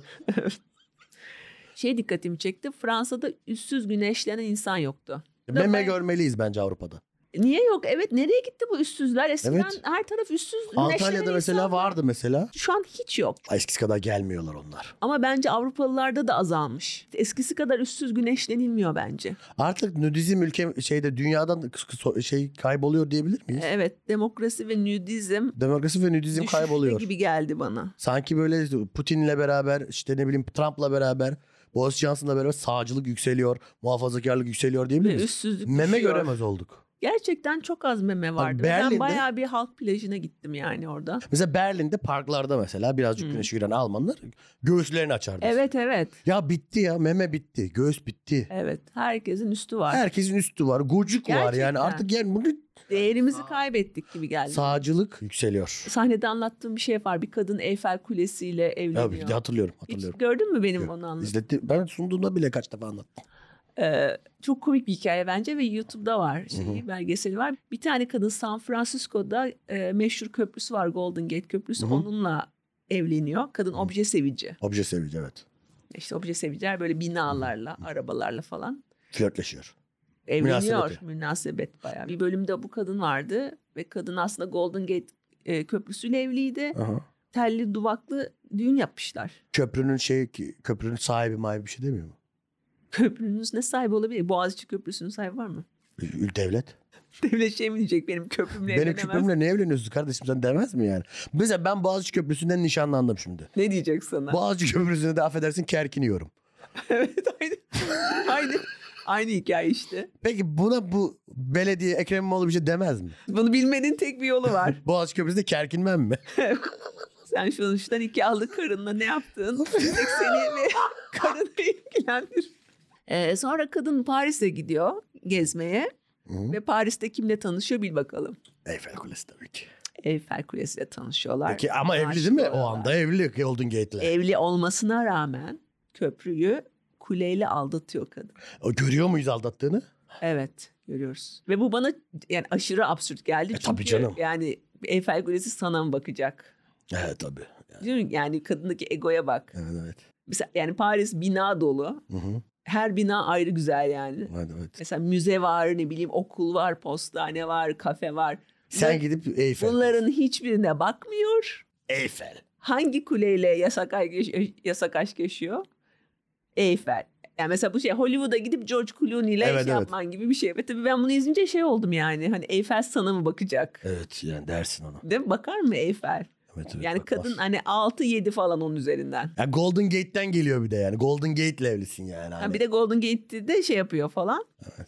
şey dikkatimi çekti. Fransa'da üstsüz güneşlenen insan yoktu.
Meme
ben-
görmeliyiz bence Avrupa'da.
Niye yok? Evet nereye gitti bu üstsüzler? Eskiden
Evet.
her taraf üstsüz güneşlenen
Antalya'da
insan
mesela vardı mesela.
Şu an hiç yok.
Ay, Eskisi kadar gelmiyorlar onlar.
Ama bence Avrupalılarda da azalmış. Eskisi kadar üstsüz güneşlenilmiyor bence.
Artık nudizm ülke şeyde dünyadan kıs- kıs- şey kayboluyor diyebilir miyiz?
Evet demokrasi ve nüdizm
Demokrasi ve nudizm
düşüşte
kayboluyor.
gibi geldi bana.
Sanki böyle Putin'le beraber işte ne bileyim Trump'la beraber Boris Johnson'la beraber sağcılık yükseliyor, muhafazakarlık yükseliyor diyebilir
Ve
miyiz?
üstsüzlük
Meme
düşüyor.
göremez olduk.
Gerçekten çok az meme vardı.
Berlin'de-
Ben bayağı bir halk plajına gittim yani orada.
Mesela Berlin'de parklarda mesela birazcık
Hmm.
güneşe giren Almanlar göğüslerini açardı.
Evet evet.
Ya bitti ya meme bitti, göğüs bitti.
Evet. Herkesin üstü var.
Herkesin üstü var, gocuk var
Gerçekten.
yani artık yani bunu
Değerimizi kaybettik gibi geldi.
sağcılık yükseliyor.
Sahnede anlattığım bir şey var. Bir kadın Eyfel Kulesi ile evleniyor.
Ya bir de hatırlıyorum, hatırlıyorum.
Hiç gördün mü benim
Yok,
onu anlattığımı?
İzletti. Ben sunduğumda bile kaç defa anlattım.
Ee, çok komik bir hikaye bence ve YouTube'da var şeyi, belgeseli var. Bir tane kadın San Francisco'da e, meşhur köprüsü var Golden Gate Köprüsü.
Hı hı.
Onunla evleniyor. Kadın obje sevici.
Obje sevici evet.
İşte obje seviciler böyle binalarla, arabalarla falan
Flörtleşiyor.
evleniyor.
Münasebeti.
Münasebet bayağı. Bir bölümde bu kadın vardı ve kadın aslında Golden Gate e, köprüsüyle evliydi.
Aha.
Telli duvaklı düğün yapmışlar.
Köprünün şey ki- köprünün sahibi mahibi bir şey demiyor mu?
Köprünüz ne sahibi olabilir? Boğaziçi Köprüsü'nün sahibi var mı? *laughs*
Ül- Devlet.
Devlet şey mi diyecek benim köprümle
Benim
evlenemez.
köprümle ne evleniyorsun kardeşim sen demez mi yani? Mesela ben Boğaziçi Köprüsü'nden nişanlandım şimdi.
Ne diyecek sana?
Boğaziçi Köprüsü'nde de affedersin kerkiniyorum.
*laughs* evet aynı. aynı. Aynı hikaye işte.
Peki buna bu belediye Ekrem İmamoğlu bir şey demez mi?
Bunu bilmenin tek bir
*laughs*
yolu var.
Boğaziçi Köprüsü'nde kerkinmem mi?
Sen sonuçta nikahlı karınla ne yaptın? Bir Tek
*laughs*
seni ve karını ilgilendir. Ee, sonra kadın Paris'e gidiyor gezmeye.
Hı.
Ve Paris'te kimle tanışıyor bil bakalım.
*laughs* Eyfel Kulesi tabii ki.
Eiffel Kulesi'yle tanışıyorlar.
Peki ama evli değil mi? O anda evli Golden Gate'le.
Evli olmasına rağmen köprüyü kuleyle aldatıyor kadın.
O Görüyor muyuz aldattığını?
Evet görüyoruz. Ve bu bana yani aşırı absürt geldi.
E,
çünkü
tabii canım.
Yani Eiffel Kulesi sana mı bakacak?
Evet tabii.
Değil mi? Yani kadındaki egoya bak.
Evet evet.
Mesela yani Paris bina dolu.
Hı hı.
Her bina ayrı güzel yani.
Evet, evet.
Mesela müze var, ne bileyim okul var, postane var, kafe var.
Sen
Bunlar-
gidip Eyfel.
Bunların hiçbirine bakmıyor.
Eyfel.
Hangi kuleyle yasak, ay- yasak aşk yaşıyor? Eyfel. Yani mesela bu şey Hollywood'a gidip George Clooney ile
Evet,
şey
evet.
yapman gibi bir şey. Ve tabii ben bunu izleyince şey oldum yani. Hani Eyfel sana mı bakacak?
Evet yani dersin ona.
Değil mi? Bakar mı Eyfel?
Evet, evet,
Yani
bakmaz.
kadın hani 6-7 falan onun üzerinden.
Ya Golden Gate'den geliyor bir de yani. Golden Gate'le evlisin yani.
Ha,
Hani.
bir de Golden Gate'de de şey yapıyor falan.
Evet.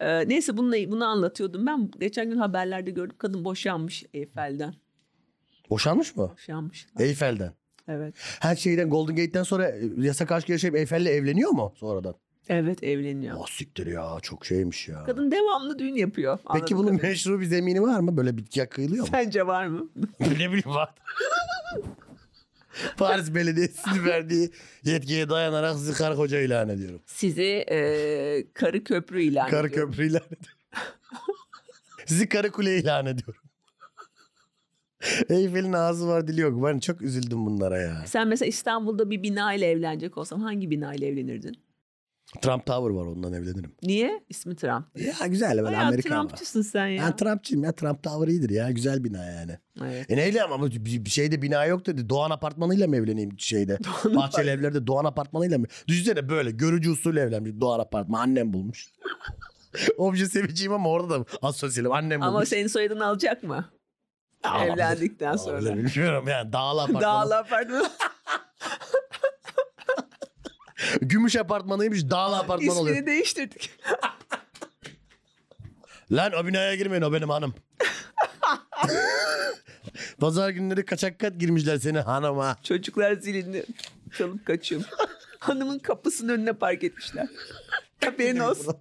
Ee, neyse bunu, bunu anlatıyordum ben. Geçen gün haberlerde gördüm kadın boşanmış Eyfel'den.
Boşanmış mı?
Boşanmış.
Eyfel'den.
Evet.
Her şeyden Golden Gate'den sonra e, yasak aşk yaşayıp Eyfel'le evleniyor mu sonradan?
Evet evleniyor.
Oh siktir ya çok şeymiş ya.
Kadın devamlı düğün yapıyor.
Peki
anladığım
bunun
kadarıyla.
meşru bir zemini var mı? Böyle bitki hakkı yığılıyor mu?
Sence var mı?
*laughs* ne bileyim var. Paris
*laughs*
Belediyesi'nin verdiği yetkiye dayanarak sizi karı koca ilan ediyorum.
Sizi e, karı köprü ilan
Karı
ediyorum.
köprü ilan *laughs* ediyorum. sizi karı kule ilan ediyorum. Eyfel'in ağzı var dili yok. Ben çok üzüldüm bunlara ya.
Sen mesela İstanbul'da bir bina ile evlenecek olsan hangi bina ile evlenirdin?
Trump Tower var ondan evlenirim.
Niye? İsmi Trump.
Ya güzel böyle
Bayağı
Amerikan var.
Trumpçısın sen ya.
Ben Trumpçıyım ya. Trump Tower iyidir ya. Güzel bina yani.
evet. *laughs*
E neyle ama bir bir şeyde bina yok dedi. Doğan apartmanıyla mı evleneyim
*laughs*
şeyde? Bahçeli evlerde Doğan apartmanıyla mı? Düşünsene böyle görücü usulü evlenmiş. Doğan apartmanı annem bulmuş. *laughs* Obje seveceğim ama orada da asosyalim annem bulmuş.
Ama şey, senin soyadını alacak mı?
Ama-
evlendikten
Ama
sonra.
Bilmiyorum yani
*laughs*
dağlı apartmanı.
Dağlı apartman.
Gümüş apartmanıymış dağlı apartman oluyor.
*laughs* İsmini değiştirdik.
Lan o binaya girmeyin o benim
*laughs*
hanım. Pazar günleri kaçak kat girmişler seni hanıma.
Çocuklar zilini çalıp kaçıyor. Hanımın kapısının önüne park etmişler. Haberin olsun.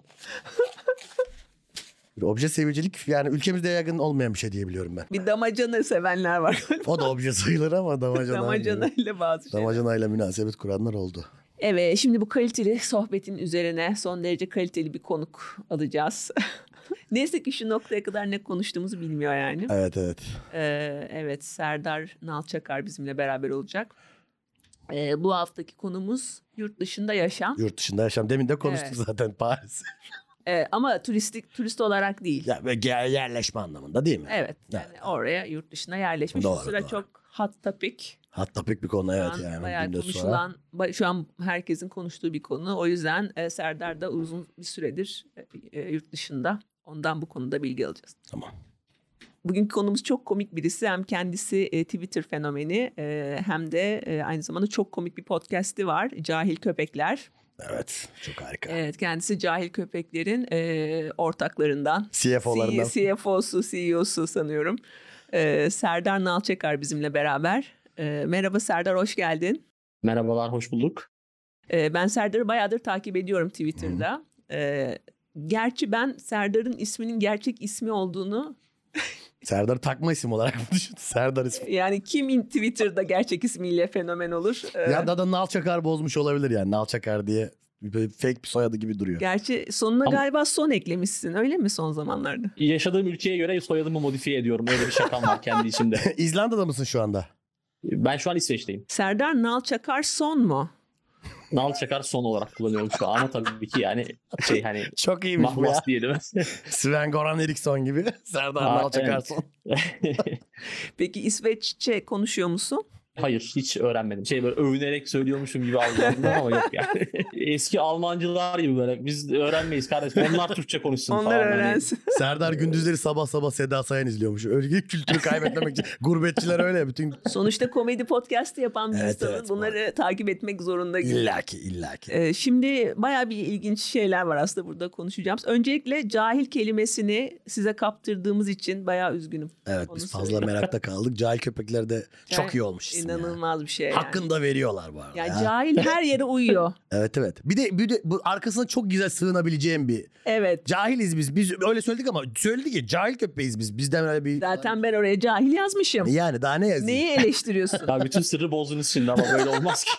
Obje sevicilik yani ülkemizde yaygın olmayan bir şey diyebiliyorum ben.
Bir damacana sevenler var.
O da obje sayılır ama damacana.
damacana ile bazı şeyler.
Damacanayla münasebet kuranlar oldu.
Evet şimdi bu kaliteli sohbetin üzerine son derece kaliteli bir konuk alacağız. *laughs* Neyse ki şu noktaya kadar ne konuştuğumuzu bilmiyor yani.
Evet evet.
Ee, evet Serdar Nalçakar bizimle beraber olacak. Ee, bu haftaki konumuz yurt dışında yaşam.
Yurt dışında yaşam. Demin de konuştuk
Evet.
zaten Paris. *laughs*
Ee, ama turistik turist olarak değil.
ya, ve ge- yerleşme anlamında değil mi?
Evet. Yani oraya yurt dışına yerleşmiş.
Doğru,
Şu sıra
doğru.
çok hot topic.
Hatta pek bir konu evet
Şu an
yani.
bayağı
Bayağı Sonra.
konuşulan, ba- şu an herkesin konuştuğu bir konu. O yüzden e, Serdar da uzun bir süredir e, e, yurt dışında. Ondan bu konuda bilgi alacağız.
Tamam.
Bugünkü konumuz çok komik birisi. Hem kendisi e, Twitter fenomeni e, hem de e, aynı zamanda çok komik bir podcast'i var. Cahil Köpekler.
Evet. Çok harika.
Evet kendisi Cahil Köpekler'in e, ortaklarından.
CFO'larından.
C- CFO'su, CEO'su sanıyorum. Ee, Serdar Nalçakar bizimle beraber. Ee, merhaba Serdar, hoş geldin.
Merhabalar, hoş bulduk.
Ee, ben Serdar'ı bayağıdır takip ediyorum Twitter'da. Ee, gerçi ben Serdar'ın isminin gerçek ismi olduğunu,
Serdar takma isim olarak mı *laughs* düşün? Serdar ismi.
yani kimin Twitter'da gerçek ismiyle fenomen olur? Ee,
Ya da da Nalçakar bozmuş olabilir yani. Nalçakar diye bir fake bir soyadı gibi duruyor.
Gerçi sonuna
Ama-
galiba son eklemişsin öyle mi son zamanlarda?
Yaşadığım ülkeye göre soyadımı modifiye ediyorum. Öyle bir şakam var kendi içimde.
*laughs* *laughs* İzlanda'da mısın şu anda?
Ben şu an İsveç'teyim.
Serdar Nalçakar son mu?
Nal Çakar son olarak kullanıyorum şu an. Ama tabii ki yani şey hani
Çok iyiymiş bu ya.
mahlas diyelim.
Sven Goran Eriksson gibi. *laughs* Serdar
Aa,
Nalçakarsson.
Peki İsveççe konuşuyor musun?
*laughs* Hayır hiç öğrenmedim. Şey böyle övünerek söylüyormuşum gibi algıladım ama yok yani. *laughs* Eski Almancılar gibi böyle biz öğrenmeyiz kardeşim. Onlar Türkçe konuşsun falan.
Onlar
Hani
öğrensin.
Serdar gündüzleri sabah sabah Seda Sayan izliyormuş. Öyle kültürü kaybetmemek *laughs* için. Gurbetçiler öyle ya, *laughs* bütün
Sonuçta komedi podcast'ı yapan bir
Evet,
insanın
evet, bu
bunları takip etmek zorunda gibi.
illaki illaki.
Ee, şimdi bayağı bir ilginç şeyler var aslında burada konuşacağımız. Öncelikle cahil kelimesini size kaptırdığımız için bayağı üzgünüm.
Evet
Onu
biz fazla
söyleyeyim.
merakta kaldık. Cahil köpekler de çok
Yani
iyi olmuş isim ya.
İnanılmaz bir şey yani.
Hakkını da veriyorlar bu arada.
Yani
ya. *laughs*
cahil her yere uyuyor.
Evet evet. Bir de, bir de bu arkasına çok güzel sığınabileceğim bir.
Evet.
Cahiliz biz. Biz öyle söyledik ama söyledik ya cahil köpeğiz biz. Bizden öyle bir... Hani
Zaten ben oraya cahil yazmışım.
Yani daha ne yazayım?
Neyi
*laughs*
eleştiriyorsun?
Ya bütün sırrı bozdunuz şimdi ama böyle olmaz ki.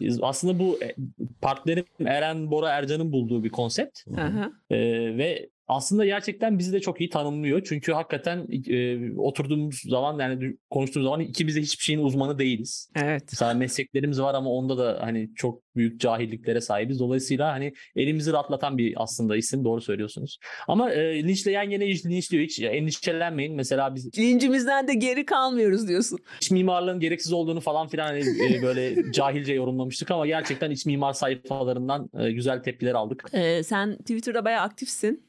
Biz- Aslında bu e, partnerim Eren Bora Ercan'ın bulduğu bir konsept.
Aha.
Ee, ve aslında gerçekten bizi de çok iyi tanımlıyor. Çünkü hakikaten e, oturduğumuz zaman yani dü- konuştuğumuz zaman ikimiz de hiçbir şeyin uzmanı değiliz.
evet.
Mesela mesleklerimiz var ama onda da hani çok büyük cahilliklere sahibiz. Dolayısıyla hani elimizi rahatlatan bir aslında isim doğru söylüyorsunuz. Ama e, linçleyen gene hiç linçliyor. Hiç endişelenmeyin. Mesela biz
Lincimizden de geri kalmıyoruz diyorsun.
iç mimarlığın gereksiz olduğunu falan filan hani, e, böyle cahilce yorumlamıştık ama gerçekten iç mimar sayfalarından e, güzel tepkiler aldık.
Ee, sen Twitter'da bayağı aktifsin.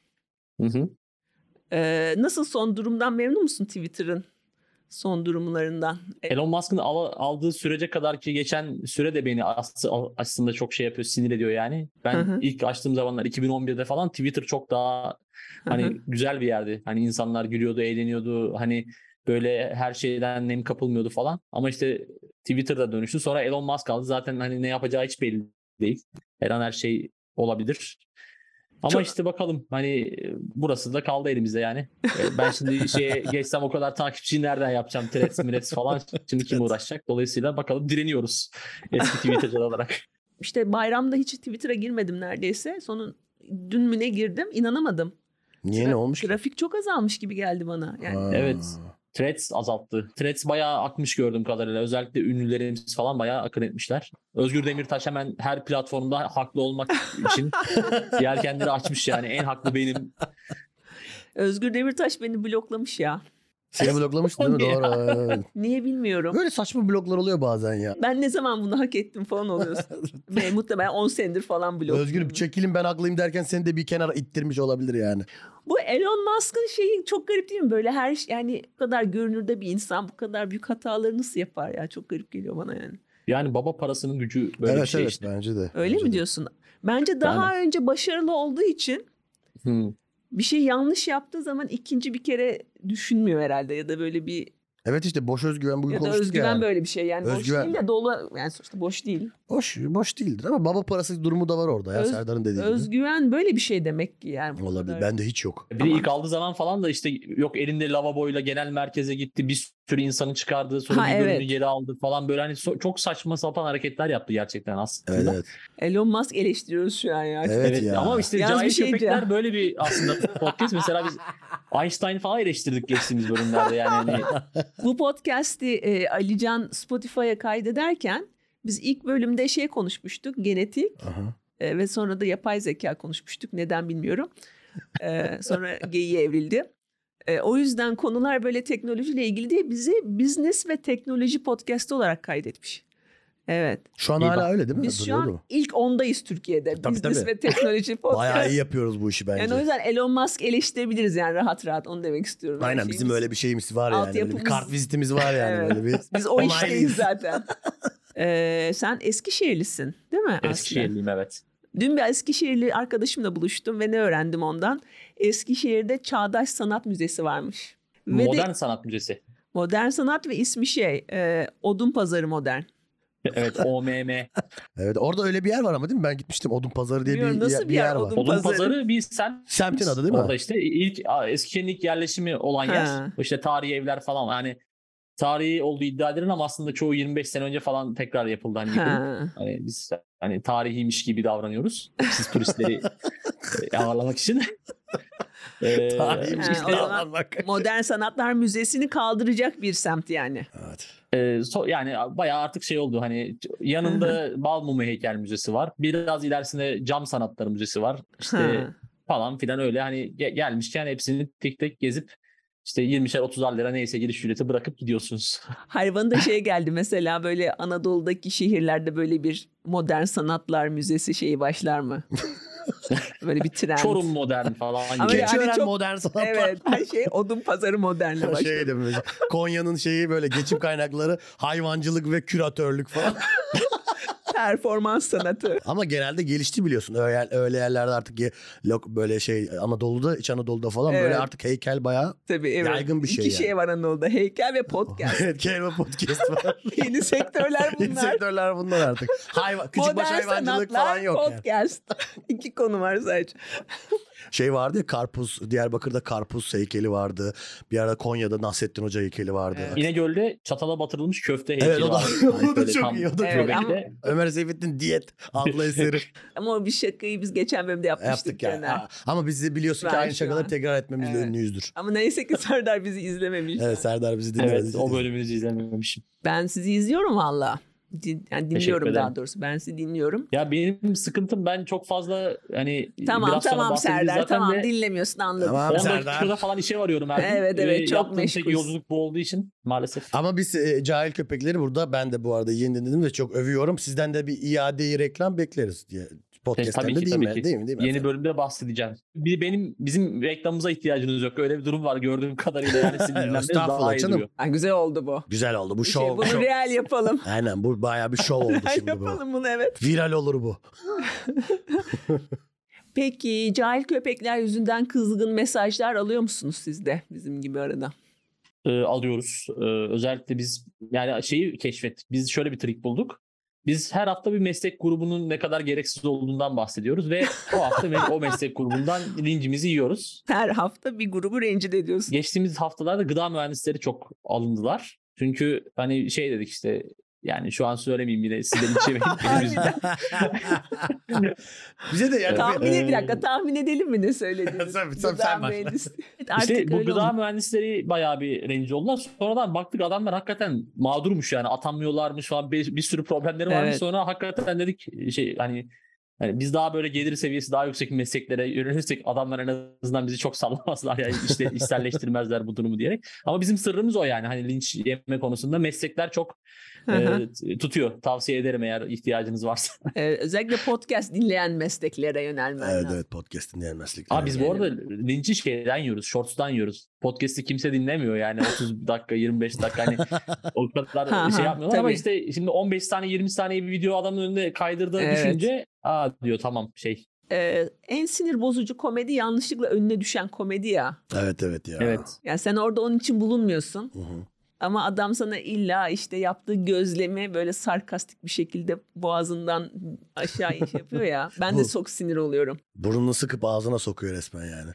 Hı hı.
Ee, nasıl son durumdan memnun musun Twitter'ın? son durumlarından. E,
Elon Musk'ın al- aldığı sürece kadar ki geçen süre de beni as- aslında çok şey yapıyor, sinir ediyor yani. Ben
Hı hı.
ilk açtığım zamanlar 2011'de falan Twitter çok daha hani
Hı hı.
güzel bir yerdi. Hani insanlar gülüyordu, eğleniyordu. Hani böyle her şeyden nem kapılmıyordu falan. Ama işte Twitter'da dönüştü. Sonra Elon Musk aldı. Zaten hani ne yapacağı hiç belli değil. Her an her şey olabilir. Ama
Çok-
işte bakalım hani e, burası da kaldı elimizde yani. E, Ben şimdi şeye geçsem o kadar takipçiyi nereden yapacağım? Threads, mrets falan. Şimdi kim uğraşacak? Dolayısıyla bakalım direniyoruz eski Twitter'cılar olarak.
işte bayramda hiç Twitter'a girmedim neredeyse. Sonun dün müne girdim inanamadım.
Niye ne olmuş? ki?
Grafik çok azalmış gibi geldi bana. Yani
Ha.
Evet. Threads azalttı. Threads bayağı akmış gördüğüm kadarıyla. Özellikle ünlülerimiz falan bayağı akın etmişler. Özgür Demirtaş hemen her platformda haklı olmak
*laughs*
için yelkenleri açmış yani. En haklı benim.
Özgür Demirtaş beni bloklamış ya.
Seni bloklamış değil mi?
Ya.
Doğru. evet.
Niye bilmiyorum.
*laughs* Böyle saçma bloklar oluyor bazen ya.
Ben ne zaman bunu hak ettim
*laughs*
falan oluyorsun. Ve muhtemelen 10 senedir falan blok.
Özgür çekilin ben haklıyım derken seni de bir kenara ittirmiş olabilir yani.
Bu Elon Musk'ın şeyi çok garip değil mi? Böyle her şey- yani bu kadar görünürde bir insan bu kadar büyük hataları nasıl yapar ya? Çok garip geliyor bana yani.
Yani baba parasının gücü böyle
evet
bir şey
evet
işte.
bence de.
Öyle
Bence
mi
de.
diyorsun? Bence daha önce başarılı olduğu için
Hı.
bir şey yanlış yaptığı zaman ikinci bir kere düşünmüyor herhalde ya da böyle bir
Evet işte boş özgüven bugün
ya da
konuştuk
özgüven
yani.
böyle bir şey yani
Özgüven.
boş değil de dolu yani sonuçta boş değil.
Boş, boş değildir ama baba parası durumu da var orada ya
Öz-
Serdar'ın dediği
Özgüven böyle bir şey demek ki yani.
gibi.
bu
Olabilir.
kadar-
Bende hiç yok.
Bir de
Tamam.
ilk aldığı zaman falan da işte yok elinde lavaboyla genel merkeze gitti. Bir sürü insanı çıkardı. Sonra
Ha,
bir bölümü
evet.
geri aldı falan. Böyle hani so- çok saçma sapan hareketler yaptı gerçekten aslında.
Evet evet.
Elon Musk eleştiriyoruz şu an ya.
Evet, ya.
Ama işte
Yalnız
cahil
bir şey
köpekler
diyeceğim.
böyle bir
*laughs*
aslında podcast. Mesela biz Einstein falan eleştirdik geçtiğimiz bölümlerde
*laughs*
yani. Hani
Bu podcast'i e, Alican Spotify'a kaydederken biz ilk bölümde şey konuşmuştuk genetik
Aha.
e, ve sonra da yapay zeka konuşmuştuk neden bilmiyorum.
*laughs*
E, sonra geyiğe evrildi. E, o yüzden konular böyle teknolojiyle ilgili diye bizi business ve teknoloji podcast'ı olarak kaydetmiş. Evet.
Şu an
İyi
hala
bak.
öyle değil mi?
Biz şu
Duruyor
an
değil mi?
ilk ondayız Türkiye'de.
Tabii,
business
tabii.
ve
*laughs*
teknoloji podcast.
Bayağı iyi yapıyoruz bu işi bence.
Yani o yüzden Elon Musk eleştirebiliriz yani rahat rahat onu demek istiyorum.
Aynen
Şeyimiz-
bizim öyle bir şeyimiz var yani.
Alt
Böyle bir
yapımız-
kart vizitimiz var yani
Evet.
böyle bir.
Biz o
Olaylıyız. *laughs*
işteyiz zaten. Ee, sen Eskişehirlisin değil mi aslında?
Eskişehirliyim evet.
Dün bir Eskişehirli arkadaşımla buluştum ve ne öğrendim ondan? Eskişehir'de Çağdaş Sanat Müzesi varmış. Ve modern.
Modern sanat müzesi.
modern sanat ve ismi şey e, Odun Pazarı Modern.
Evet OMM.
*laughs*
Evet orada öyle bir yer var ama değil mi? Ben gitmiştim Odun Pazarı diye
Bilmiyorum,
bir,
nasıl
yer,
bir yer
var.
Odun-
Odun
Pazarı.
pazarı bir sen
Semtin adı değil mi?
Orada işte ilk Eskişehir'in ilk yerleşimi olan
Ha.
yer. İşte tarihi evler falan. Yani tarihi olduğu iddia edilen ama aslında çoğu 25 sene önce falan tekrar yapıldı. Hani, yıkılıp.
Ha.
hani biz hani tarihiymiş gibi davranıyoruz.
*laughs*
Siz turistleri e, ağırlamak için. Ee,
*laughs* Tarihiymiş
Ha,
şey işte.
o zaman-
Aman bak.
*laughs* Modern Sanatlar Müzesi'ni kaldıracak bir semt yani.
Evet.
Ee, so- yani bayağı artık şey oldu hani yanında Balmumu Heykel Müzesi var. Biraz ilerisinde Cam Sanatları Müzesi var. İşte
Ha.
falan filan öyle hani ge- gelmişken hepsini tek tek gezip işte 20'şer 30'ar lira neyse giriş ücreti bırakıp gidiyorsunuz. *laughs*
Hayvanı da şey geldi mesela böyle Anadolu'daki şehirlerde böyle bir modern sanatlar müzesi şeyi başlar mı? böyle bir trend.
Çorum modern falan
Ama
gibi.
yani
Geçiören
çok-
modern sanatlar.
Evet şey. her şey odun pazarı modernle başladı.
Şeydi mesela Konya'nın şeyi böyle geçim kaynakları hayvancılık ve küratörlük
*laughs*
falan.
Performans sanatı.
Ama genelde gelişti biliyorsun. Öyle, öyle yerlerde artık ye- lok- böyle şey Anadolu'da, İç Anadolu'da falan böyle
Evet.
artık heykel bayağı.
Tabii evet.
Yaygın bir şey
İki
yani.
şey var Anadolu'da. Heykel ve
*laughs*
podcast. *laughs*
evet, kelime podcast var.
Yeni sektörler
Yeni
bunlar.
sektörler bunlar
*laughs*
artık. Hayvan, küçük baş
Modern
hayvancılık
sanatlar,
falan yok yani.
podcast. *laughs* İki konu var sadece.
Şey vardı ya karpuz, Diyarbakır'da karpuz heykeli vardı. Bir arada Konya'da Nasrettin Hoca heykeli vardı.
Evet.
İnegöl'de çatala batırılmış köfte heykeli
Evet, o da-
var.
*laughs*
Hani
o da
Böyle
çok
tam
iyi, o da
çok iyi.
göbekte.
Ömer Seyfettin Diyet
*laughs*
adlı eseri
Ama o bir şakayı biz geçen bölümde yapmıştık.
yaptık yani.
Caner.
Ha, Ama biz de biliyorsun ki
Ben
aynı
şu
şakaları
an-
tekrar etmemizle
Evet.
ünlüyüzdür.
Ama neyse ki Serdar bizi izlememiş.
Evet Serdar bizi dinlemedi.
Evet o bölümünüzü izlememişim.
Ben sizi izliyorum valla. Din- yani dinliyorum
ederim.
daha doğrusu. Ben sizi dinliyorum.
Ya benim sıkıntım ben çok fazla hani
Tamam
biraz sonra
tamam
bahsedeceğiz
Serdar
zaten
tamam
de-
dinlemiyorsun anladım.
Tamam.
10
Serdar.
dakikada falan işe varıyorum her gün.
Evet, evet,
Ee,
çok
yaptığım tek
meşgulsün.
yolculuk bu olduğu için maalesef.
Ama biz e, cahil köpekleri burada ben de bu arada yeniden dedim ve çok övüyorum. Sizden de bir iadeyi reklam bekleriz diye Podcast'ten
E, tabii
de
ki,
değil,
tabii
mi?
ki.
değil mi? Değil mi?
Yeni
efendim?
bölümde bahsedeceğim. Bir benim bizim reklamımıza ihtiyacınız yok. Öyle bir durum var gördüğüm kadarıyla.
*laughs*
Yani sizin dinlenmeniz
Estağfurullah
daha iyi
canım.
duruyor.
Ay, güzel oldu bu.
Güzel oldu. Bu
Bir şey,
şov.
bunu
şov-
real yapalım.
Aynen bu bayağı bir
*laughs*
şov oldu
Real
şimdi bu.
yapalım bunu evet.
Viral olur
*laughs*
bu.
Peki cahil köpekler yüzünden kızgın mesajlar alıyor musunuz siz de bizim gibi arada?
e, alıyoruz. E, özellikle biz yani şeyi keşfettik. Biz şöyle bir trik bulduk. Biz her hafta bir meslek grubunun ne kadar gereksiz olduğundan bahsediyoruz ve o hafta me- o meslek grubundan *laughs* lincimizi yiyoruz.
Her hafta bir grubu rencide ediyorsun.
Geçtiğimiz haftalarda gıda mühendisleri çok alındılar. Çünkü hani şey dedik işte yani şu an söylemeyeyim yine sizden
*laughs*
hiç yemeyin. benim yüzümden.
Bize de yani
Tahmin
bir-
et- bir dakika tahmin edelim mi
*laughs*
ne söylediğini?
Sen- sen-
Gıda
sen başla.
mühendisi. Evet,
İşte şey, bu
öyle
gıda
oldu.
mühendisleri bayağı bir rencide oldular. Sonradan baktık adamlar hakikaten mağdurmuş yani atanmıyorlarmış falan bir, bir sürü problemleri varmış.
Evet.
Sonra hakikaten dedik şey hani yani biz daha böyle gelir seviyesi daha yüksek mesleklere yönelirsek adamlar en azından bizi çok sallamazlar yani
*laughs*
işte isterleştirmezler bu durumu diyerek. Ama bizim sırrımız o yani hani linç yeme konusunda meslekler çok
Hı hı.
e, t- tutuyor. Tavsiye ederim eğer ihtiyacınız varsa.
*laughs* Ee, özellikle podcast dinleyen mesleklere yönelmen
Evet
lazım.
evet podcast dinleyen meslekler.
Abi biz bu arada linci şeyden yiyoruz, shorts'tan yiyoruz. Podcast'i kimse dinlemiyor yani 30 dakika, 25 dakika hani o kadar
Ha,
şey
ha,
yapmıyorlar ama
tabii.
işte şimdi 15 saniye 20 saniye bir video adamın önüne kaydırdığı
Evet.
düşünce aa diyor tamam şey.
Ee, en sinir bozucu komedi yanlışlıkla önüne düşen komedi ya.
Evet evet ya.
Evet.
Yani sen orada onun için bulunmuyorsun
Hı hı.
ama adam sana illa işte yaptığı gözlemi böyle sarkastik bir şekilde boğazından aşağı iş yapıyor ya. Ben de
Bu-
çok sinir oluyorum.
Burnunu sıkıp ağzına sokuyor resmen yani.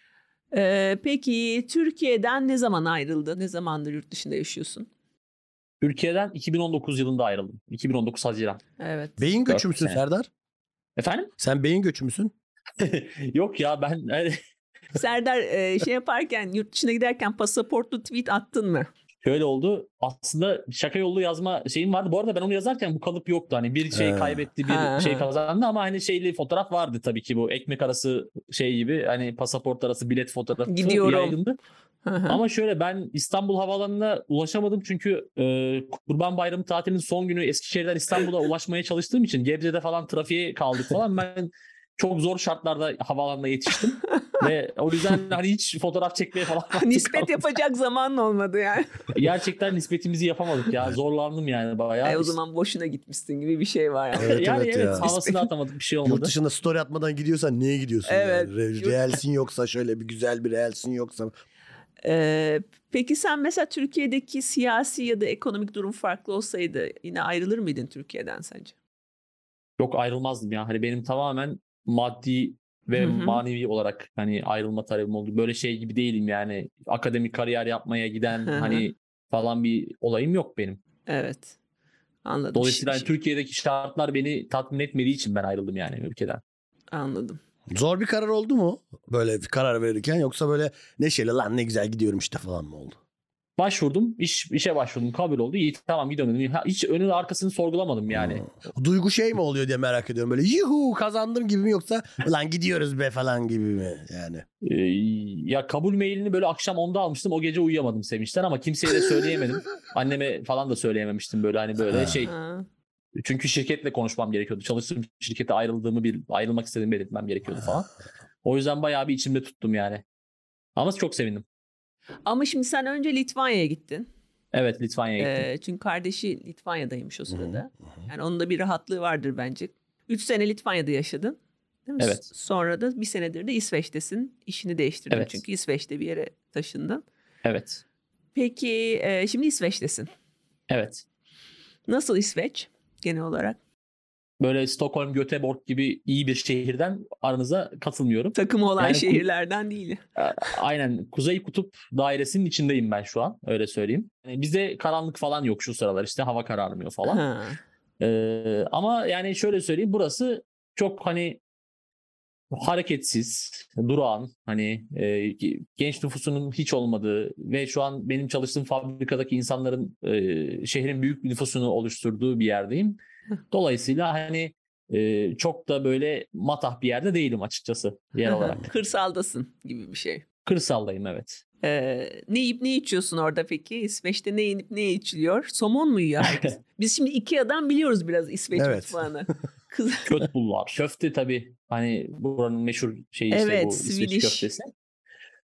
Ee, peki Türkiye'den ne zaman ayrıldı? Ne zamandır yurt dışında yaşıyorsun?
Türkiye'den 2019 yılında ayrıldım. 2019 Haziran.
Evet.
Beyin
Dört
göçü müsün
sene.
Serdar?
Efendim? *laughs*
Sen beyin göçü müsün?
Yok ya ben
Serdar e, şey yaparken yurt dışına giderken pasaportlu tweet attın mı?
Şöyle oldu. Aslında şaka yollu yazma şeyim vardı. Bu arada ben onu yazarken bu kalıp yoktu. Hani bir şey
Ha.
kaybetti, bir
Ha,
şey
ha.
kazandı ama hani şeyli fotoğraf vardı tabii ki bu ekmek arası şey gibi. Hani pasaport arası bilet fotoğrafı
Gidiyorum.
yaygındı.
Hı *laughs* hı.
Ama şöyle ben İstanbul Havaalanı'na ulaşamadım çünkü e, Kurban Bayramı tatilinin son günü
*laughs*
Eskişehir'den İstanbul'a ulaşmaya çalıştığım için Gebze'de falan trafiğe kaldık falan. Ben çok zor şartlarda
*laughs*
havaalanına yetiştim ve o yüzden hani hiç fotoğraf çekmeye falan vaktim
Nispet
kalmadı.
yapacak zaman olmadı yani.
Gerçekten nispetimizi yapamadık ya. Zorlandım yani bayağı.
Ay, o zaman boşuna gitmişsin gibi bir şey var.
*laughs*
Yani.
Evet,
yani
evet
evet,
ya.
havasını atamadık bir şey olmadı.
Yurt dışında story atmadan gidiyorsan niye gidiyorsun?
Evet.
Yani? Re-
Yurt-
Reelsin yoksa şöyle bir güzel bir reelsin yoksa.
Ee, peki sen mesela Türkiye'deki siyasi ya da ekonomik durum farklı olsaydı yine ayrılır mıydın Türkiye'den sence?
Yok ayrılmazdım ya. Hani benim tamamen maddi ve
Hı hı.
manevi olarak hani ayrılma talebim oldu. Böyle şey gibi değilim yani. Akademik kariyer yapmaya giden
Hı hı.
hani falan bir olayım yok benim.
Evet. Anladım.
Dolayısıyla hani
Şi- şi-
Türkiye'deki şartlar beni tatmin etmediği için ben ayrıldım yani ülkeden.
Anladım.
Zor bir karar oldu mu? Böyle bir karar verirken yoksa böyle neşeli lan ne güzel gidiyorum işte falan mı oldu?
Başvurdum, iş işe başvurdum, kabul oldu. İyi tamam gidiyorum dedim. Ha, Hiç önünü arkasını sorgulamadım yani.
Hmm. Duygu şey mi oluyor diye merak ediyorum. Böyle yuhu kazandım gibi mi yoksa lan gidiyoruz be falan gibi mi yani?
Ee, ya kabul mailini böyle akşam 10'da almıştım. O gece uyuyamadım sevinçten ama kimseye de söyleyemedim. Anneme falan da söyleyememiştim böyle hani
Ha.
böyle şey.
Ha.
Çünkü şirketle konuşmam gerekiyordu. Çalıştığım şirkete ayrıldığımı bir ayrılmak istediğimi belirtmem gerekiyordu falan. O yüzden bayağı bir içimde tuttum yani. Ama çok sevindim.
Ama şimdi sen önce Litvanya'ya gittin.
Evet Litvanya'ya gittim.
Ee, çünkü kardeşi Litvanya'daymış o
Hı hı,
sırada. Yani onun da bir rahatlığı vardır bence. Üç sene Litvanya'da yaşadın. Değil mi?
Evet.
Sonra da bir senedir de İsveç'tesin. İşini değiştirdin
Evet.
çünkü İsveç'te bir yere taşındın.
Evet.
Peki e, şimdi İsveç'tesin.
Evet.
Nasıl İsveç genel olarak?
Böyle Stockholm, Göteborg gibi iyi bir şehirden aranıza katılmıyorum.
Takımı olan
Yani-
şehirlerden değil.
Aynen Kuzey Kutup dairesinin içindeyim ben şu an öyle söyleyeyim. Yani bizde karanlık falan yok şu sıralar işte hava kararmıyor falan.
Ha.
Ee, ama yani şöyle söyleyeyim burası çok hani hareketsiz, durağan hani e, ki- genç nüfusunun hiç olmadığı ve şu an benim çalıştığım fabrikadaki insanların e, şehrin büyük bir nüfusunu oluşturduğu bir yerdeyim. Dolayısıyla hani e, çok da böyle
*laughs*
matah bir yerde değilim açıkçası yer olarak.
Kırsaldasın gibi bir şey.
Kırsaldayım evet.
Ee, ne yiyip ne içiyorsun orada peki? İsveç'te ne yenip ne içiliyor? Somon mu
*laughs*
yiyor herkes? Biz şimdi Ikea'dan biliyoruz biraz İsveç
Evet.
mutfağını. *laughs* Kız,
Kötbullar. Köfte tabii hani buranın meşhur şeyi işte
Evet,
bu İsveç
Swedish.
köftesi.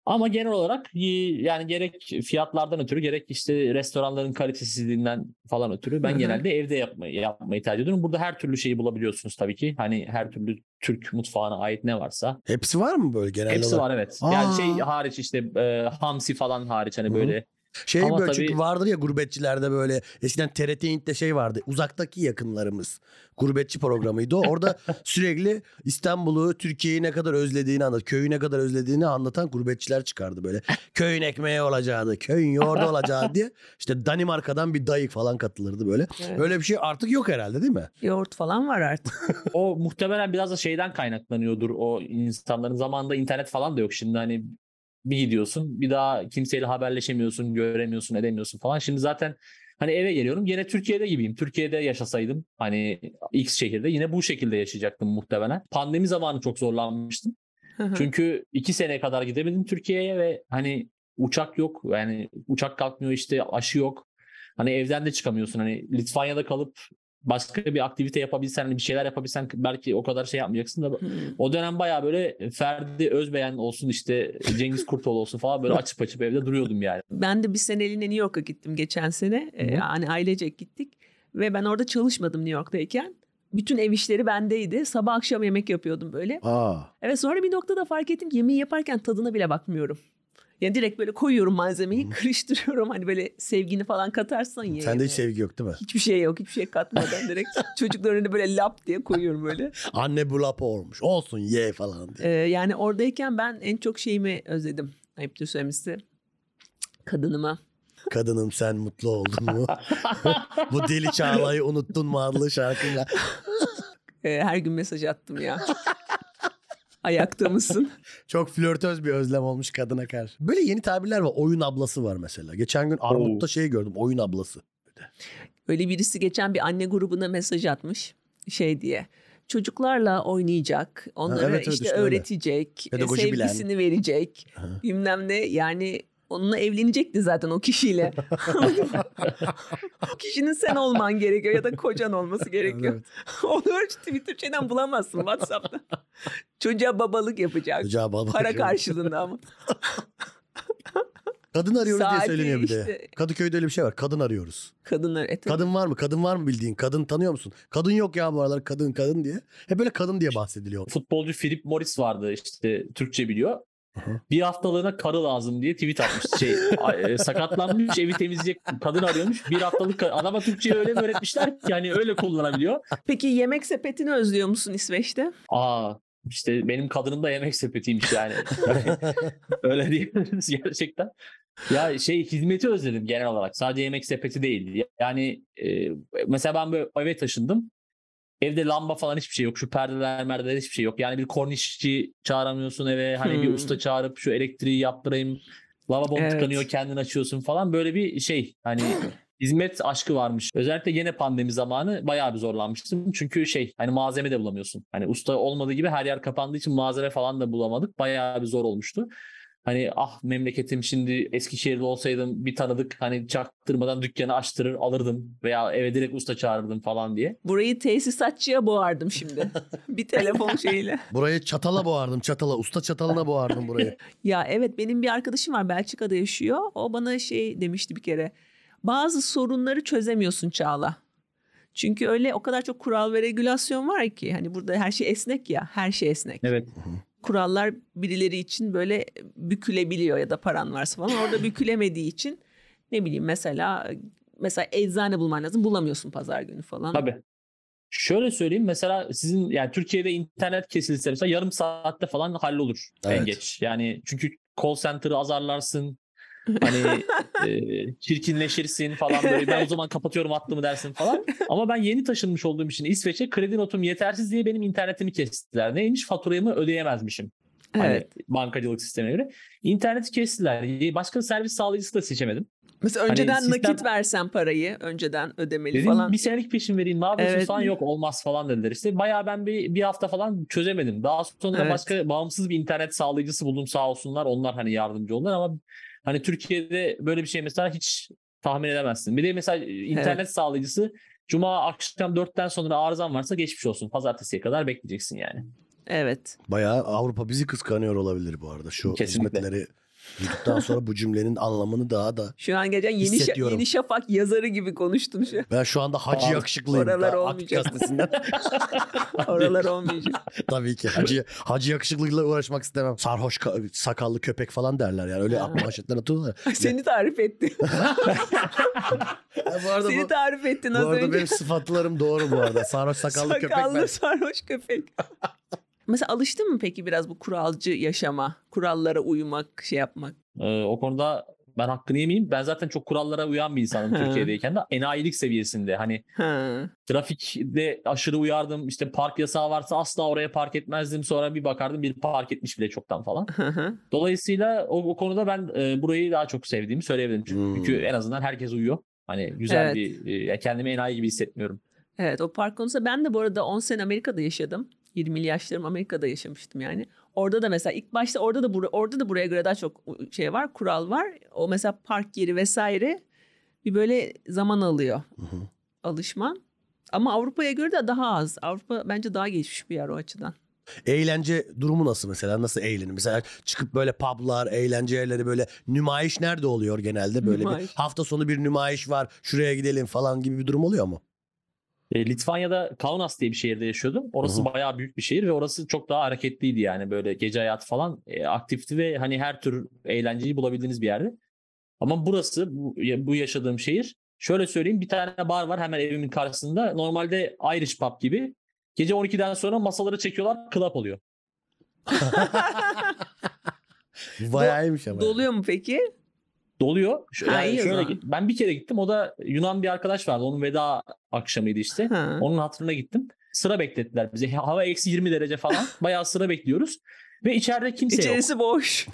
Ama genel olarak y- yani gerek fiyatlardan ötürü gerek işte restoranların kalitesizliğinden falan ötürü
Hı
ben
hı.
genelde evde yapmayı, yapmayı tercih ediyorum. Burada her türlü şeyi bulabiliyorsunuz tabii ki. Hani her türlü Türk mutfağına ait ne varsa.
Hepsi var mı böyle genel
Hepsi
olarak?
var evet. Yani
Aa.
şey hariç işte e, hamsi falan hariç hani
Hı hı.
böyle
Şey
Ama
böyle
tabii-
çünkü vardır ya gurbetçilerde böyle eskiden TRT Hint'te şey vardı. Uzaktaki yakınlarımız. Gurbetçi programıydı o.
*laughs*
Orada sürekli İstanbul'u, Türkiye'yi ne kadar özlediğini anlat, köyü ne kadar özlediğini anlatan gurbetçiler çıkardı böyle. Köyün ekmeği olacağı, köyün
*laughs*
yoğurdu olacağı diye. İşte Danimarka'dan bir dayık falan katılırdı *laughs* böyle.
Evet.
Öyle bir şey artık yok herhalde değil mi?
yoğurt falan var artık. *laughs*
o muhtemelen biraz da şeyden kaynaklanıyordur o insanların zamanında internet falan da yok şimdi hani bir gidiyorsun bir daha kimseyle haberleşemiyorsun göremiyorsun edemiyorsun falan şimdi zaten hani eve geliyorum yine Türkiye'de gibiyim Türkiye'de yaşasaydım hani X şehirde yine bu şekilde yaşayacaktım muhtemelen pandemi zamanı çok zorlanmıştım
Hı hı.
çünkü iki seneye kadar gidemedim Türkiye'ye ve hani uçak yok. Yani uçak kalkmıyor işte aşı yok. Hani evden de çıkamıyorsun. Hani Litvanya'da kalıp başka bir aktivite yapabilsen, hani bir şeyler yapabilsen belki o kadar şey yapmayacaksın da
Hı.
o dönem bayağı böyle Ferdi Özbeyen olsun işte Cengiz Kurtoğlu olsun falan böyle açıp açıp evde duruyordum yani.
Ben de bir seneliğine New York'a gittim geçen sene. Ee, hani ailecek gittik. Ve ben orada çalışmadım New York'tayken. Bütün ev işleri bendeydi. Sabah akşam yemek yapıyordum böyle.
Aa.
Evet sonra bir noktada fark ettim ki yemeği yaparken tadına bile bakmıyorum. Yani direkt böyle koyuyorum malzemeyi, *laughs* karıştırıyorum. Hani böyle sevgini falan katarsan ye.
Sende hiç
yemeğe.
sevgi yok değil mi?
Hiçbir şey yok, hiçbir şey katmadan direkt çocukların önüne böyle lap diye koyuyorum böyle.
Anne bu lapa olmuş. Olsun ye falan diye.
Ee, yani oradayken ben en çok şeyimi özledim. Ayıptır söylemesi. Kadınıma.
Kadınım sen mutlu oldun
*laughs*
mu? bu deli çağlayı unuttun mu adlı şarkıyla.
Ee, her gün mesaj attım ya. Ayakta mısın?
Çok flörtöz bir özlem olmuş kadına karşı. Böyle yeni tabirler var. Oyun ablası var mesela. Geçen gün Armut'ta şey gördüm. Oyun ablası.
Öyle birisi geçen bir anne grubuna mesaj atmış. Şey diye. Çocuklarla oynayacak. Onlara
evet, evet,
işte
işte öyle.
öğretecek. e,
Pedagoji bilen.
sevgisini verecek.
Aha.
Bilmem ne. Yani onunla evlenecekti zaten
*laughs*
o kişiyle. o kişinin sen olman gerekiyor ya da kocan olması gerekiyor.
Evet.
*laughs* Onu öyle Twitter şeyden bulamazsın WhatsApp'ta. Çocuğa babalık yapacak.
Acaba bana
Para
bakıyor.
karşılığında ama.
Kadın arıyoruz diye
Saati
söyleniyor bir de.
işte.
Kadıköy'de öyle bir şey var. Kadın arıyoruz.
Kadınlar ete.
Kadın var mı? Kadın var mı bildiğin? Kadın tanıyor musun? Kadın yok ya bu aralar kadın kadın diye. Hep böyle kadın diye bahsediliyor.
Futbolcu Philip Morris vardı işte Türkçe biliyor.
Aha.
Bir haftalığına karı lazım diye tweet atmış. Şey, a- e, sakatlanmış evi temizleyecek kadın arıyormuş. Bir haftalık kar- adama Türkçe'yi öyle mi öğretmişler ki yani öyle kullanabiliyor.
Peki yemek sepetini özlüyor musun İsveç'te?
Aa işte benim kadınım da yemek sepetiymiş yani. Yani öyle diyebiliriz gerçekten. Ya şey hizmeti özledim genel olarak. Sadece yemek sepeti değil. Yani e, mesela ben böyle eve taşındım. Evde lamba falan hiçbir şey yok. Şu perdeler merdeler hiçbir şey yok. Yani bir kornişçi çağıramıyorsun eve. Hani bir
Hmm.
usta çağırıp şu elektriği yaptırayım. Lavabon
Evet.
tıkanıyor kendin açıyorsun falan. Böyle bir şey hani hizmet aşkı varmış. Özellikle yine pandemi zamanı bayağı bir zorlanmıştım. Çünkü şey hani malzeme de bulamıyorsun. Hani usta olmadığı gibi her yer kapandığı için malzeme falan da bulamadık. Bayağı bir zor olmuştu. Hani ah memleketim şimdi Eskişehir'de olsaydım bir tanıdık hani çaktırmadan dükkanı açtırır alırdım veya eve direkt usta çağırırdım falan diye.
Burayı tesisatçıya boğardım *laughs* şimdi. bir telefon şeyiyle.
Burayı çatala boğardım çatala. Usta çatalına boğardım burayı.
Ya evet benim bir arkadaşım var Belçika'da yaşıyor. O bana şey demişti bir kere. Bazı sorunları çözemiyorsun Çağla. Çünkü öyle o kadar çok kural ve regülasyon var ki hani burada her şey esnek ya her şey esnek.
Evet.
Kurallar birileri için böyle bükülebiliyor ya da paran varsa falan *laughs* orada bükülemediği için ne bileyim mesela mesela eczane bulman lazım bulamıyorsun pazar günü falan.
Tabii. Şöyle söyleyeyim mesela sizin yani Türkiye'de internet kesilse mesela yarım saatte falan hallolur en
Evet.
geç. Yani çünkü call center'ı azarlarsın. Hani e, çirkinleşirsin falan böyle ben o zaman kapatıyorum hattımı dersin falan. Ama ben yeni taşınmış olduğum için İsveç'e kredi notum yetersiz diye benim internetimi kestiler. Neymiş faturamı ödeyemezmişim.
Evet.
Hani bankacılık sistemine göre. İnterneti kestiler. Başka servis sağlayıcısı da seçemedim.
Mesela
Hani
önceden
sistem-
nakit versen parayı önceden ödemeli
Dedim
falan.
bir senelik peşin vereyim ne yapıyorsun
Evet.
falan yok olmaz falan dediler işte. Bayağı ben bir, bir hafta falan çözemedim. Daha sonra
Evet.
başka bağımsız bir internet sağlayıcısı buldum sağ olsunlar. Onlar hani yardımcı oldular ama Hani Türkiye'de böyle bir şey mesela hiç tahmin edemezsin. Bir de mesela e, internet sağlayıcısı Cuma akşam 4'ten sonra arızan varsa geçmiş olsun. Pazartesiye kadar bekleyeceksin yani.
Evet.
Bayağı Avrupa bizi kıskanıyor olabilir bu arada. Şu
Kesinlikle.
hizmetleri duyduktan sonra bu cümlenin anlamını daha da
Şu an gece yeni, Şa-
Hissediyorum.
yeni Şafak yazarı gibi konuştum
*laughs*
şu an.
ben şu anda Hacı
Abi,
Yakışıklıyım.
oralar
Daha
olmayacak.
Akit gazetesinden. *laughs*
Oralar olmayacak.
Tabii ki. Hacı, hacı Yakışıklı'yla uğraşmak istemem. Sarhoş ka- sakallı köpek falan derler yani. Öyle
Ha.
manşetler atıyorlar.
Seni tarif etti.
Ya bu arada
Seni
bu,
tarif ettin
bu
az
arada
önce.
benim sıfatlarım doğru bu arada. Sarhoş sakallı, köpek ben.
*laughs* Sakallı sarhoş
*laughs*
köpek. Mesela alıştın mı peki biraz bu kuralcı yaşama, kurallara uymak, şey yapmak?
Ee, o konuda ben hakkını yemeyeyim. Ben zaten çok kurallara uyan bir
*laughs*
insanım
Ha.
Türkiye'deyken de. Enayilik seviyesinde. Hani
Ha.
trafikte aşırı uyardım. İşte park yasağı varsa asla oraya park etmezdim. Sonra bir bakardım bir park etmiş bile çoktan falan.
Hı hı.
Dolayısıyla o, o konuda ben e, burayı daha çok sevdiğimi söyleyebilirim. Çünkü en azından herkes uyuyor. Hani güzel
Evet.
bir e, kendimi enayi gibi hissetmiyorum.
evet o park konusu. Ben de bu arada 10 sene Amerika'da yaşadım. 20'li yaşlarım Amerika'da yaşamıştım yani. Orada da mesela ilk başta orada da bura- orada da buraya göre daha çok u- şey var, kural var. O mesela park yeri vesaire bir böyle zaman alıyor
Hı hı.
alışman. Ama Avrupa'ya göre de daha az. Avrupa bence daha gelişmiş bir yer o açıdan.
Eğlence durumu nasıl mesela? Nasıl eğlenir? Mesela çıkıp böyle publar, eğlence yerleri böyle nümayiş nerede oluyor genelde? Böyle
Nümayiş.
bir hafta sonu bir nümayiş var. Şuraya gidelim falan gibi bir durum oluyor mu?
E, Litvanya'da Kaunas diye bir şehirde yaşıyordum. Orası
Hı
bayağı büyük bir şehir ve orası çok daha hareketliydi yani böyle gece hayatı falan e, aktifti ve hani her tür eğlenceyi bulabildiğiniz bir yerdi. Ama burası bu, ya- bu yaşadığım şehir şöyle söyleyeyim bir tane bar var hemen evimin karşısında. Normalde Irish pub gibi. Gece 12'den sonra masaları çekiyorlar, club oluyor.
Bayağı iyiymiş ama. yani.
Doluyor mu peki?
Doluyor. Ş-
Ha,
yani
iyi o
şöyle
zaman.
ben bir kere gittim. O da Yunan bir arkadaş vardı. Onun veda akşamıydı işte.
Ha.
Onun hatırına gittim. Sıra beklettiler bize. Hava eksi 20 derece falan. Bayağı sıra bekliyoruz. Ve içeride kimse şey yok.
İçerisi boş.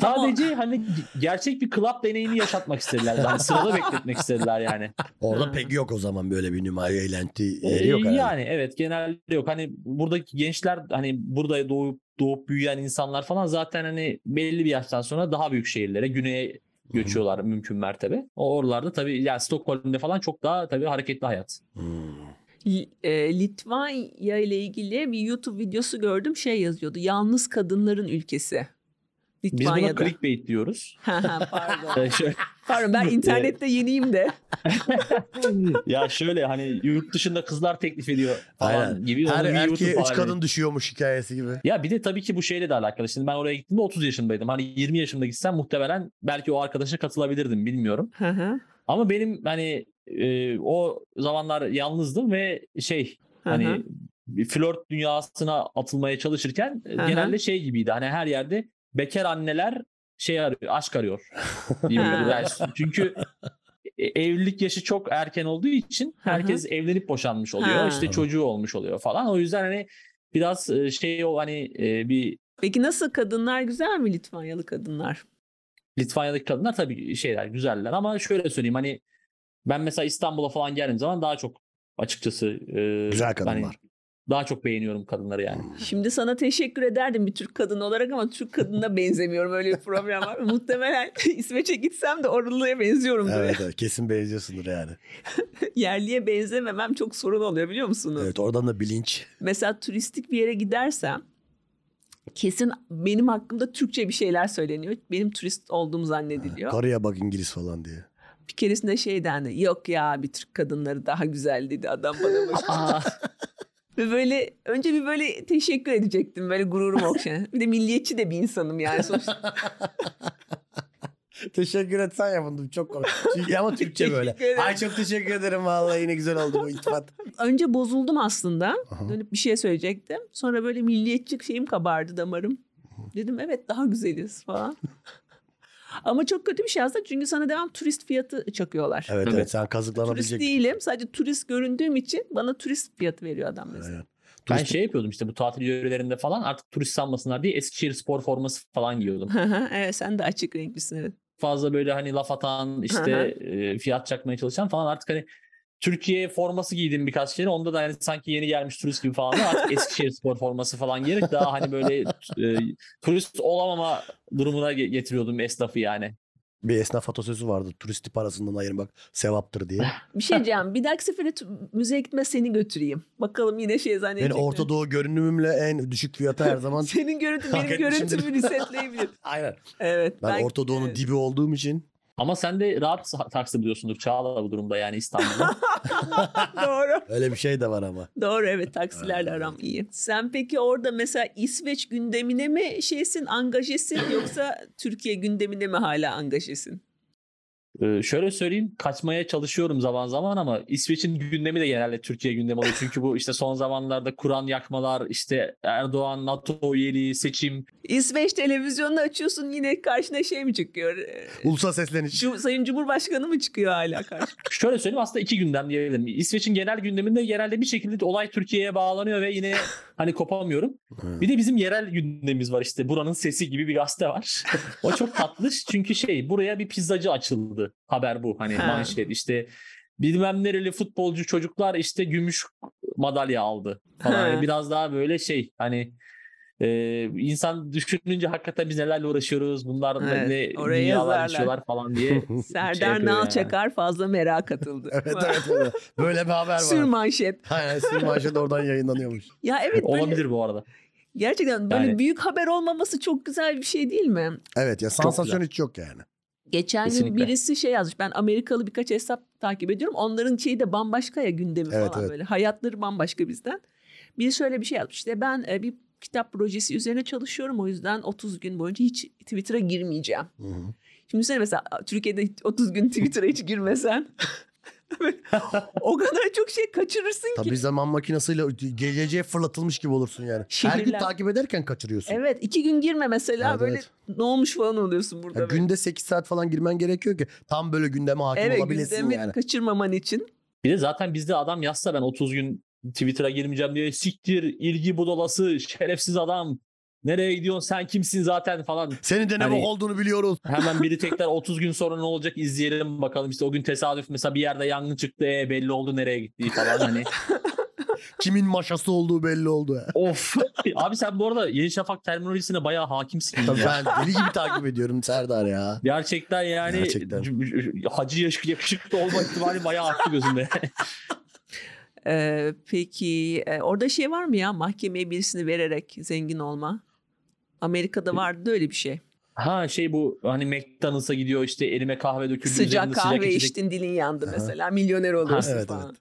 Sadece hani gerçek bir club deneyimi yaşatmak istediler. Yani sırada bekletmek istediler yani.
Orada
Ha.
pek yok o zaman böyle bir nümayiş eğlenti
Ee,
yeri yok herhalde.
yani evet genelde yok. Hani buradaki gençler hani burada doğup doğup büyüyen insanlar falan zaten hani belli bir yaştan sonra daha büyük şehirlere güneye göçüyorlar mümkün mertebe. O oralarda tabii yani Stockholm'de falan çok daha tabii hareketli hayat.
Hmm.
L- e, Litvanya ile ilgili bir YouTube videosu gördüm. Şey yazıyordu. Yalnız kadınların ülkesi.
Biz buna
Litvanya'da.
clickbait diyoruz.
Ha, ha,
*laughs*
pardon.
Ee, şöyle-
pardon *laughs* ben internette yeniyim de.
*laughs* ya şöyle hani yurt dışında kızlar teklif ediyor falan
Aynen.
gibi.
Her
onun bir
erkeğe
YouTube
üç
hali.
kadın düşüyormuş hikayesi gibi.
Ya bir de tabii ki bu şeyle de alakalı. Şimdi ben oraya gittiğimde 30 yaşındaydım. Hani 20 yaşımda gitsem muhtemelen belki o arkadaşa katılabilirdim bilmiyorum.
Hı hı,
Ama benim hani e, o zamanlar yalnızdım ve şey
hı
hani
hı.
bir flört dünyasına atılmaya çalışırken e,
Aha.
genelde şey gibiydi. Hani her yerde bekar anneler şey arıyor, aşk arıyor. diyeyim böyle. Yani çünkü e, evlilik yaşı çok erken olduğu için
Aha.
herkes evlenip boşanmış oluyor.
Ha.
İşte çocuğu olmuş oluyor falan. O yüzden hani biraz e, şey o hani e, bir
Peki nasıl kadınlar güzel mi Litvanyalı kadınlar?
Litvanya'daki kadınlar tabii şeyler güzeller ama şöyle söyleyeyim hani ben mesela İstanbul'a falan geldiğim zaman daha çok açıkçası e,
Güzel
hani
kadınlar.
daha çok beğeniyorum kadınları yani.
Şimdi sana teşekkür ederdim bir Türk kadını olarak ama Türk *laughs* kadınına benzemiyorum. Öyle bir problem var. Muhtemelen *laughs* İsveç'e gitsem de oralıya benziyorum.
Evet, evet kesin benziyorsundur yani.
Yerliye benzememem çok sorun oluyor biliyor musunuz?
Evet oradan da bilinç.
Mesela turistik bir yere gidersem kesin benim hakkımda Türkçe bir şeyler söyleniyor. Benim turist olduğum zannediliyor.
Karıya bak İngiliz falan diye.
Bir keresinde şey dendi. Yok ya bir Türk kadınları daha güzel dedi adam bana. *laughs* böyle.
Aa,
Ve böyle önce bir böyle teşekkür edecektim. Böyle gururum okşan. Bir de milliyetçi de bir insanım
*laughs*
yani sonuçta.
Teşekkür etsen ya bunu çok *laughs* komik. Çünkü- ama Türkçe böyle.
Teşekkür ederim.
Ay çok teşekkür ederim vallahi yine güzel oldu bu iltifat.
Önce bozuldum aslında.
Aha.
Dönüp bir şey söyleyecektim. Sonra böyle milliyetçi şeyim kabardı damarım. Dedim evet daha
*laughs*
güzeliz falan. Ama çok kötü bir şey aslında çünkü sana devam turist fiyatı çakıyorlar.
Evet
Tabii.
evet sen
turist
kazıklanabilecek.
değilim. Sadece turist göründüğüm için bana turist fiyatı veriyor adam mesela.
Aynen.
ben
Turistik-
şey yapıyordum işte bu tatil yörelerinde falan artık turist sanmasınlar diye Eskişehir spor forması falan
*laughs*
giyiyordum.
Hı hı, evet sen de açık renklisin evet.
Fazla böyle hani laf atan işte e, fiyat çakmaya çalışan falan artık hani Türkiye forması giydim birkaç kere. Onda da hani sanki yeni gelmiş turist gibi falan. Artık Eskişehir spor forması falan gerek. Daha hani böyle e, turist olamama durumuna ge- getiriyordum esnafı yani.
Bir esnaf atasözü vardı. Turisti parasından ayırın bak sevaptır diye.
Bir şey diyeceğim. Bir dahaki sefere tu- müzeye gitme seni götüreyim. Bakalım yine şey
Ben
zannedecek. mi?
Orta Doğu görünümümle en düşük fiyata her
*laughs*
zaman.
Senin görüntün
Hak
benim
etmişim
görüntümü *laughs* resetleyebilir.
Aynen.
Evet.
Ben, Orta Doğu'nun
Evet.
dibi olduğum için.
Ama sen de rahat sa- taksi buluyorsundur Çağla bu durumda yani İstanbul'da.
*laughs* Doğru.
Öyle bir şey de var ama.
Doğru evet taksilerle aram iyi. Sen peki orada mesela İsveç gündemine mi şeysin angajesin yoksa Türkiye gündemine mi hala angajesin?
Ee, şöyle söyleyeyim kaçmaya çalışıyorum zaman zaman ama İsveç'in gündemi de genelde Türkiye gündemi oluyor. Çünkü bu işte son zamanlarda Kur'an yakmalar, işte Erdoğan, NATO üyeliği, seçim.
İsveç televizyonunu açıyorsun yine karşına şey
*laughs*
mi çıkıyor? Ee,
Ulusal sesleniş.
Cu- Sayın Cumhurbaşkanı mı çıkıyor
*laughs*
hala karşı?
Şöyle söyleyeyim aslında iki gündem diyebilirim. İsveç'in genel gündeminde genelde bir şekilde olay Türkiye'ye bağlanıyor ve yine hani kopamıyorum.
*laughs* Ha.
Bir de bizim yerel gündemimiz var işte buranın sesi gibi bir
*laughs*
gazete var. o çok tatlış çünkü şey buraya bir pizzacı açıldı haber bu hani
Ha.
manşet işte bilmem nereli futbolcu çocuklar işte gümüş madalya aldı falan.
Ha.
Hani biraz daha böyle şey hani e, insan düşününce hakikaten biz nelerle uğraşıyoruz bunlar
Evet,
ne
oraya
dünyalar
yazarlar.
yaşıyorlar falan
*laughs*
diye.
Serdar
yapıyor
Nalçakar fazla merak katıldı.
*laughs* evet evet. evet. Böyle bir haber
Sür
var.
manşet.
Aynen sürmanşe de oradan yayınlanıyormuş.
Ya evet böyle,
Olabilir bu arada.
gerçekten böyle
Yani-
büyük haber olmaması çok güzel bir şey değil mi?
Evet ya
güzel.
sansasyon hiç yok yani.
Geçen gün
Kesinlikle.
birisi şey yazmış. Ben Amerikalı birkaç hesap takip ediyorum. Onların şeyi de bambaşka ya gündemi
Evet,
falan
evet.
böyle. Hayatları bambaşka bizden. Bir şöyle bir şey yazmış. İşte ben e, bir kitap projesi üzerine çalışıyorum. O yüzden 30 gün boyunca hiç Twitter'a girmeyeceğim.
Hı hı.
Şimdi sen mesela Türkiye'de hiç 30 gün Twitter'a hiç girmesen *laughs* o kadar çok şey kaçırırsın ki.
Tabii zaman makinesiyle geleceğe fırlatılmış gibi olursun yani. Her gün
Şehirler-
takip ederken kaçırıyorsun.
Evet iki gün girme mesela
Evet,
böyle
evet.
ne olmuş falan oluyorsun burada.
Ya
böyle.
günde 8 saat falan girmen gerekiyor ki tam böyle gündeme hakim
evet
olabilesin
gündemi
yani.
kaçırmaman için.
Bir de zaten bizde adam yazsa ben 30 gün Twitter'a girmeyeceğim diye siktir ilgi budalası şerefsiz adam nereye gidiyorsun sen kimsin zaten falan.
Senin de ne
Hani-
bok olduğunu biliyoruz.
Hemen biri tekrar 30 gün sonra ne olacak izleyelim bakalım işte o gün tesadüf mesela bir yerde yangın çıktı e, belli oldu nereye gittiği
*laughs*
falan hani.
Kimin maşası olduğu belli
*laughs*
oldu.
of abi sen bu arada Yeni Şafak terminolojisine bayağı hakimsin.
Tabii
ya.
ben deli gibi takip ediyorum Serdar ya.
Gerçekten yani
Gerçekten.
hacı yaş- yakışıklı olma ihtimali bayağı arttı gözümde. *laughs*
Ee, peki e, orada şey var mı ya mahkemeye birisini vererek zengin olma? Amerika'da vardı da öyle bir şey.
ha şey bu hani McDonald's'a gidiyor işte elime kahve döküldü
Sıcak
üzerinde
kahve
içecek-
içtin dilin yandı
Aha.
mesela milyoner oluyorsun
evet,
falan.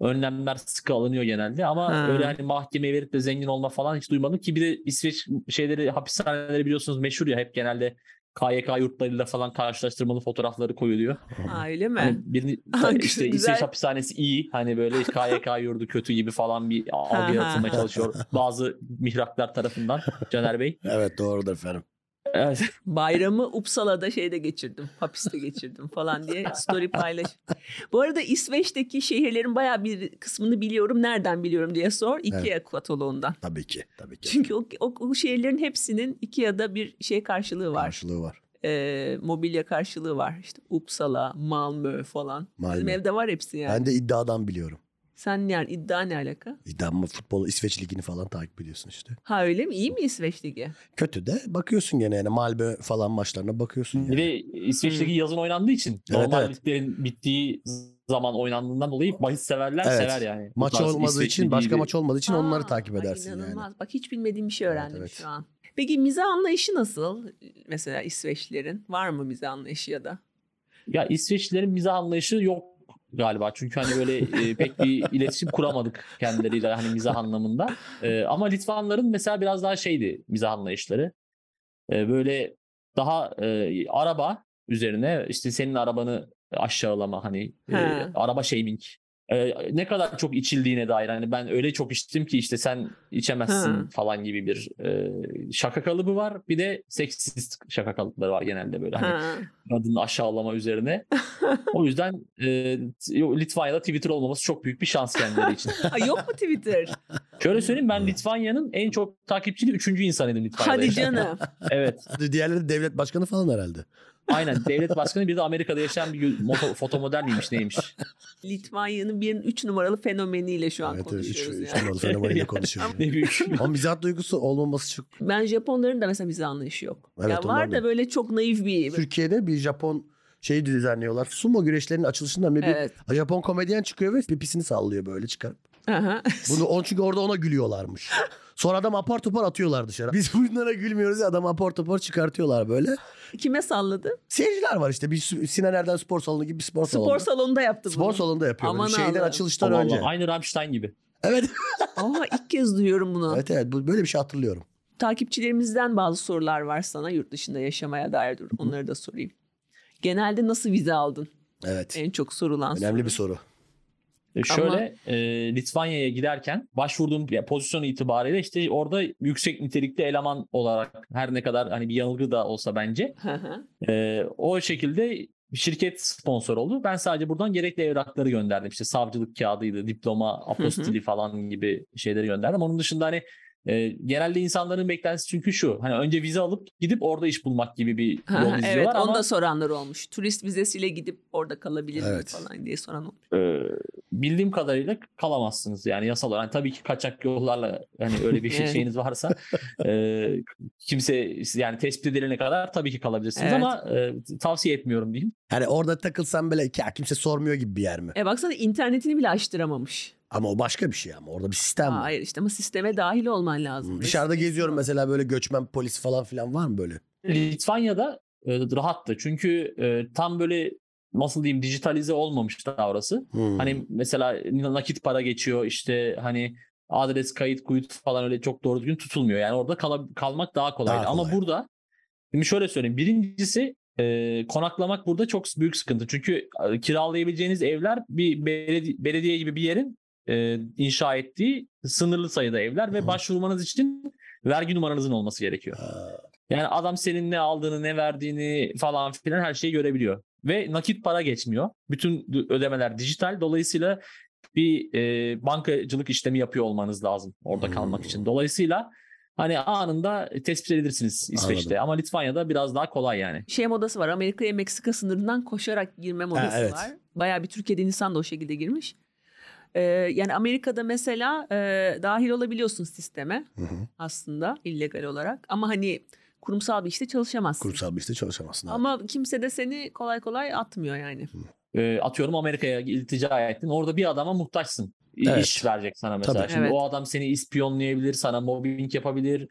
önlemler sıkı alınıyor genelde ama
Ha.
öyle hani mahkemeye verip de zengin olma falan hiç duymadım ki bir de İsveç şeyleri hapishaneleri biliyorsunuz meşhur ya hep genelde KYK yurtlarıyla falan karşılaştırmalı fotoğrafları koyuluyor.
Ha, öyle mi?
Hani
*laughs*
birini,
Ha,
işte
güzel.
İsveç hapishanesi iyi hani böyle KYK yurdu kötü gibi falan bir algı
Ha, ha,
yaratılmaya
ha.
çalışıyor bazı mihraklar tarafından Caner Bey.
Evet doğrudur efendim.
Evet.
Bayramı Uppsala'da şeyde geçirdim, hapiste geçirdim falan diye story paylaş. Bu arada İsveç'teki şehirlerin bayağı bir kısmını biliyorum. Nereden biliyorum diye sor. IKEA kataloğundan.
Tabii ki. Tabii ki.
Çünkü o, o, o şehirlerin hepsinin IKEA'da bir şey karşılığı var.
Karşılığı var.
Ee, mobilya karşılığı var. İşte Uppsala, Malmö falan. Bizim
Malmö.
evde var hepsi yani.
Ben de iddiadan biliyorum.
Sen yani iddia ne alaka?
İddia mı futbol İsveç ligini falan takip ediyorsun işte.
Ha öyle mi? İyi mi İsveç Ligi?
Kötü de bakıyorsun gene yani Malbe falan maçlarına bakıyorsun.
Bir
Yani.
de
Hmm.
İsveç'teki yazın oynandığı için
Evet,
normal
evet.
liglerin bittiği zaman oynandığından dolayı bahis severler
Evet.
sever yani. Bu
Maç
tarz
olmadığı
İsveç
için
Ligi
başka
gibi.
maç olmadığı için onları
Aa,
takip
ay
edersin yani.
İnanılmaz. Bak hiç bilmediğim bir şey
Evet,
öğrendim
evet.
şu an. Peki mize anlayışı nasıl? Mesela İsveçlilerin var mı mize anlayışı ya da?
Ya İsveçlilerin mizah anlayışı yok galiba. Çünkü hani böyle e, pek bir iletişim kuramadık kendileriyle hani mizah anlamında. E, ama Litvanların mesela biraz daha şeydi mizah anlayışları. E, böyle daha e, araba üzerine işte senin arabanı aşağılama hani e,
He.
araba shaming. E, ne kadar çok içildiğine dair hani ben öyle çok içtim ki işte sen içemezsin
He.
falan gibi bir e, şaka kalıbı var. Bir de seksist şaka kalıpları var genelde böyle hani
Ha.
kadını aşağılama üzerine. o yüzden e, t- yo- Litvanya'da Twitter olmaması çok büyük bir şans kendileri için.
Aa, yok
*laughs*
mu Twitter?
Şöyle söyleyeyim ben
Hmm.
Litvanya'nın en çok takipçili 3. insanıydım Litvanya'da.
Hadi
yaşarken.
canım.
Evet.
Diğerleri devlet başkanı falan herhalde.
Aynen devlet başkanı bir de Amerika'da yaşayan bir yü- moto, fotomodel miymiş neymiş.
Litvanya'nın bir üç numaralı fenomeniyle şu an
Evet, evet, üç,
konuşuyoruz
üç
yani.
numaralı
*laughs*
fenomenle konuşuyoruz.
Ne büyük.
Ama mizah duygusu olmaması çok...
Ben Japonların da mesela bize anlayışı yok.
Evet,
ya
onlar
var
da-
da böyle çok naif bir...
Türkiye'de bir Japon şeyi düzenliyorlar. Sumo güreşlerinin açılışında ne bir
Evet.
Japon komedyen çıkıyor ve pipisini sallıyor böyle çıkar.
Aha. *laughs*
Bunu on çünkü orada ona gülüyorlarmış. Sonra adam apar topar atıyorlar dışarı. Biz bunlara gülmüyoruz ya adam apar topar çıkartıyorlar böyle.
Kime salladı?
Seyirciler var işte bir sü- Sinan Erdem spor salonu gibi bir spor salonu.
Spor salonunda yaptı
spor
bunu. *laughs*
salonunda yapıyor. böyle.
Aman
Şeyden
Allah'ım.
açılıştan
Allah
önce.
Allah, Aynı Rammstein gibi.
Evet.
Aa, ilk kez duyuyorum bunu.
evet evet bu- böyle bir şey hatırlıyorum.
Takipçilerimizden bazı sorular var sana yurt dışında yaşamaya dair. Dur, onları da sorayım. Genelde nasıl vize aldın?
Evet.
En çok sorulan
Önemli
soru.
bir soru.
E, Şöyle e, Litvanya'ya giderken başvurduğum ya, pozisyon itibariyle işte orada yüksek nitelikli eleman olarak her ne kadar hani bir yanılgı da olsa bence
Hı hı.
e, o şekilde şirket sponsor oldu. Ben sadece buradan gerekli evrakları gönderdim. İşte savcılık kağıdıydı, diploma, apostili falan gibi şeyleri gönderdim. Onun dışında hani e, genelde insanların beklentisi çünkü şu. Hani önce vize alıp gidip orada iş bulmak gibi bir
Hı
yol
hı,
izliyorlar
evet
ama
onu da soranlar olmuş. Turist vizesiyle gidip orada kalabilir miyim
Evet.
falan diye soran olmuş.
e, bildiğim kadarıyla kalamazsınız yani yasal olarak. Yani tabii ki kaçak yollarla hani
*laughs*
öyle bir şey,
Evet.
şeyiniz varsa e, kimse yani tespit edilene kadar tabii ki kalabilirsiniz
Evet.
ama e, tavsiye etmiyorum diyeyim.
Hani orada takılsan böyle ya kimse sormuyor gibi bir yer mi?
E baksana internetini bile açtıramamış.
Ama o başka bir şey ama orada bir sistem
Aa,
var.
hayır işte ama sisteme dahil olman lazım.
Hmm.
Resmi-
Dışarıda geziyorum mesela böyle göçmen polis falan filan var mı böyle?
Litvanya'da e, rahattı çünkü e, tam böyle nasıl diyeyim dijitalize olmamış daha orası.
Hmm.
Hani mesela nakit para geçiyor işte hani adres kayıt kuyut falan öyle çok doğru düzgün tutulmuyor. Yani orada kala- kalmak daha kolay.
Daha
Ama
kolay.
burada şimdi şöyle söyleyeyim. Birincisi e, konaklamak burada çok büyük sıkıntı. Çünkü e, kiralayabileceğiniz evler bir belediye, belediye gibi bir yerin e, inşa ettiği sınırlı sayıda evler ve
Hı.
başvurmanız için vergi numaranızın olması gerekiyor.
Aa,
Yani adam senin ne aldığını ne verdiğini falan filan her şeyi görebiliyor. Ve nakit para geçmiyor. Bütün d- ödemeler dijital. Dolayısıyla bir e, bankacılık işlemi yapıyor olmanız lazım orada
Hmm.
kalmak için. Dolayısıyla hani anında tespit edilirsiniz İsveç'te. Ama Litvanya'da biraz daha kolay yani.
Şey modası var Amerika'ya Meksika sınırından koşarak girme modası
evet.
var. Bayağı bir Türkiye'de insan da o şekilde girmiş. Ee, yani Amerika'da mesela e, dahil olabiliyorsun sisteme
hı hı.
aslında illegal olarak. Ama hani kurumsal bir işte çalışamazsın.
Kurumsal bir işte çalışamazsın. abi.
Ama kimse de seni kolay kolay atmıyor yani.
E, atıyorum Amerika'ya iltica ettin. Orada bir adama muhtaçsın. İ-
Evet.
İş verecek sana mesela.
Tabii.
Şimdi
Evet.
o adam seni ispiyonlayabilir, sana mobbing yapabilir,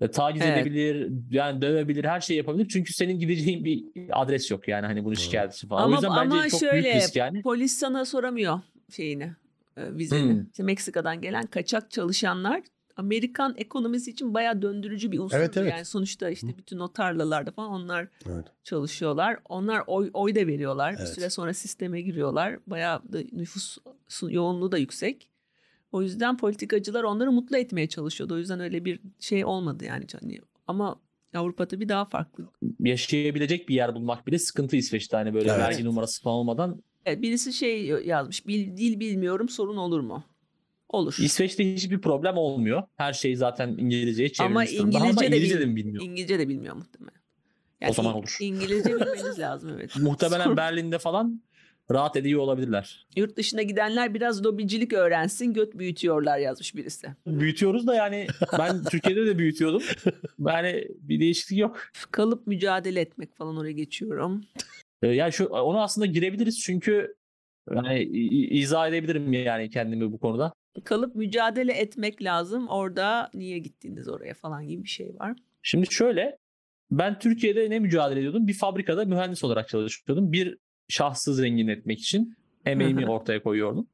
e, taciz
Evet.
edebilir, yani dövebilir, her şey yapabilir. Çünkü senin gideceğin bir adres yok yani hani bunu
Doğru.
şikayetçi falan.
Ama-
o yüzden
ama
bence çok
şöyle-
büyük risk yani.
Polis sana soramıyor şeyini, e, vizeni.
Hmm.
İşte Meksika'dan gelen kaçak çalışanlar Amerikan ekonomisi için bayağı döndürücü bir unsur.
Evet, evet.
Yani sonuçta işte bütün o tarlalarda falan onlar
Evet.
çalışıyorlar. Onlar oy, oy da veriyorlar.
Evet.
Bir süre sonra sisteme giriyorlar. Bayağı da nüfus yoğunluğu da yüksek. O yüzden politikacılar onları mutlu etmeye çalışıyordu. O yüzden öyle bir şey olmadı yani. Hani ama Avrupa'da bir daha farklı.
Yaşayabilecek bir yer bulmak bile sıkıntı İsveç'te hani böyle
Evet.
vergi numarası falan olmadan.
Evet, birisi şey yazmış. Bil, dil bilmiyorum sorun olur mu? Olur.
İsveç'te hiçbir problem olmuyor. Her şey zaten İngilizceye çevrilmiş
Ama
durumda.
İngilizce de
İngilizce de
bil-
mi bilmiyor?
İngilizce de bilmiyor muhtemelen.
O zaman
İng-
olur. *laughs*
İngilizce bilmeniz lazım evet.
Muhtemelen
Sorun-
Berlin'de falan rahat ediyor olabilirler.
Yurt dışına gidenler biraz lobicilik öğrensin göt büyütüyorlar yazmış birisi.
Büyütüyoruz da yani
*laughs*
ben Türkiye'de de büyütüyordum. Yani bir değişiklik yok.
Kalıp mücadele etmek falan oraya geçiyorum.
Ee, Yani şu onu aslında girebiliriz çünkü yani i- i- izah edebilirim yani kendimi bu konuda.
Kalıp mücadele etmek lazım. Orada niye gittiniz oraya falan gibi bir şey var.
Şimdi şöyle ben Türkiye'de ne mücadele ediyordum? Bir fabrikada mühendis olarak çalışıyordum. Bir şahsız zengin etmek için emeğimi
Hı hı.
ortaya koyuyordum.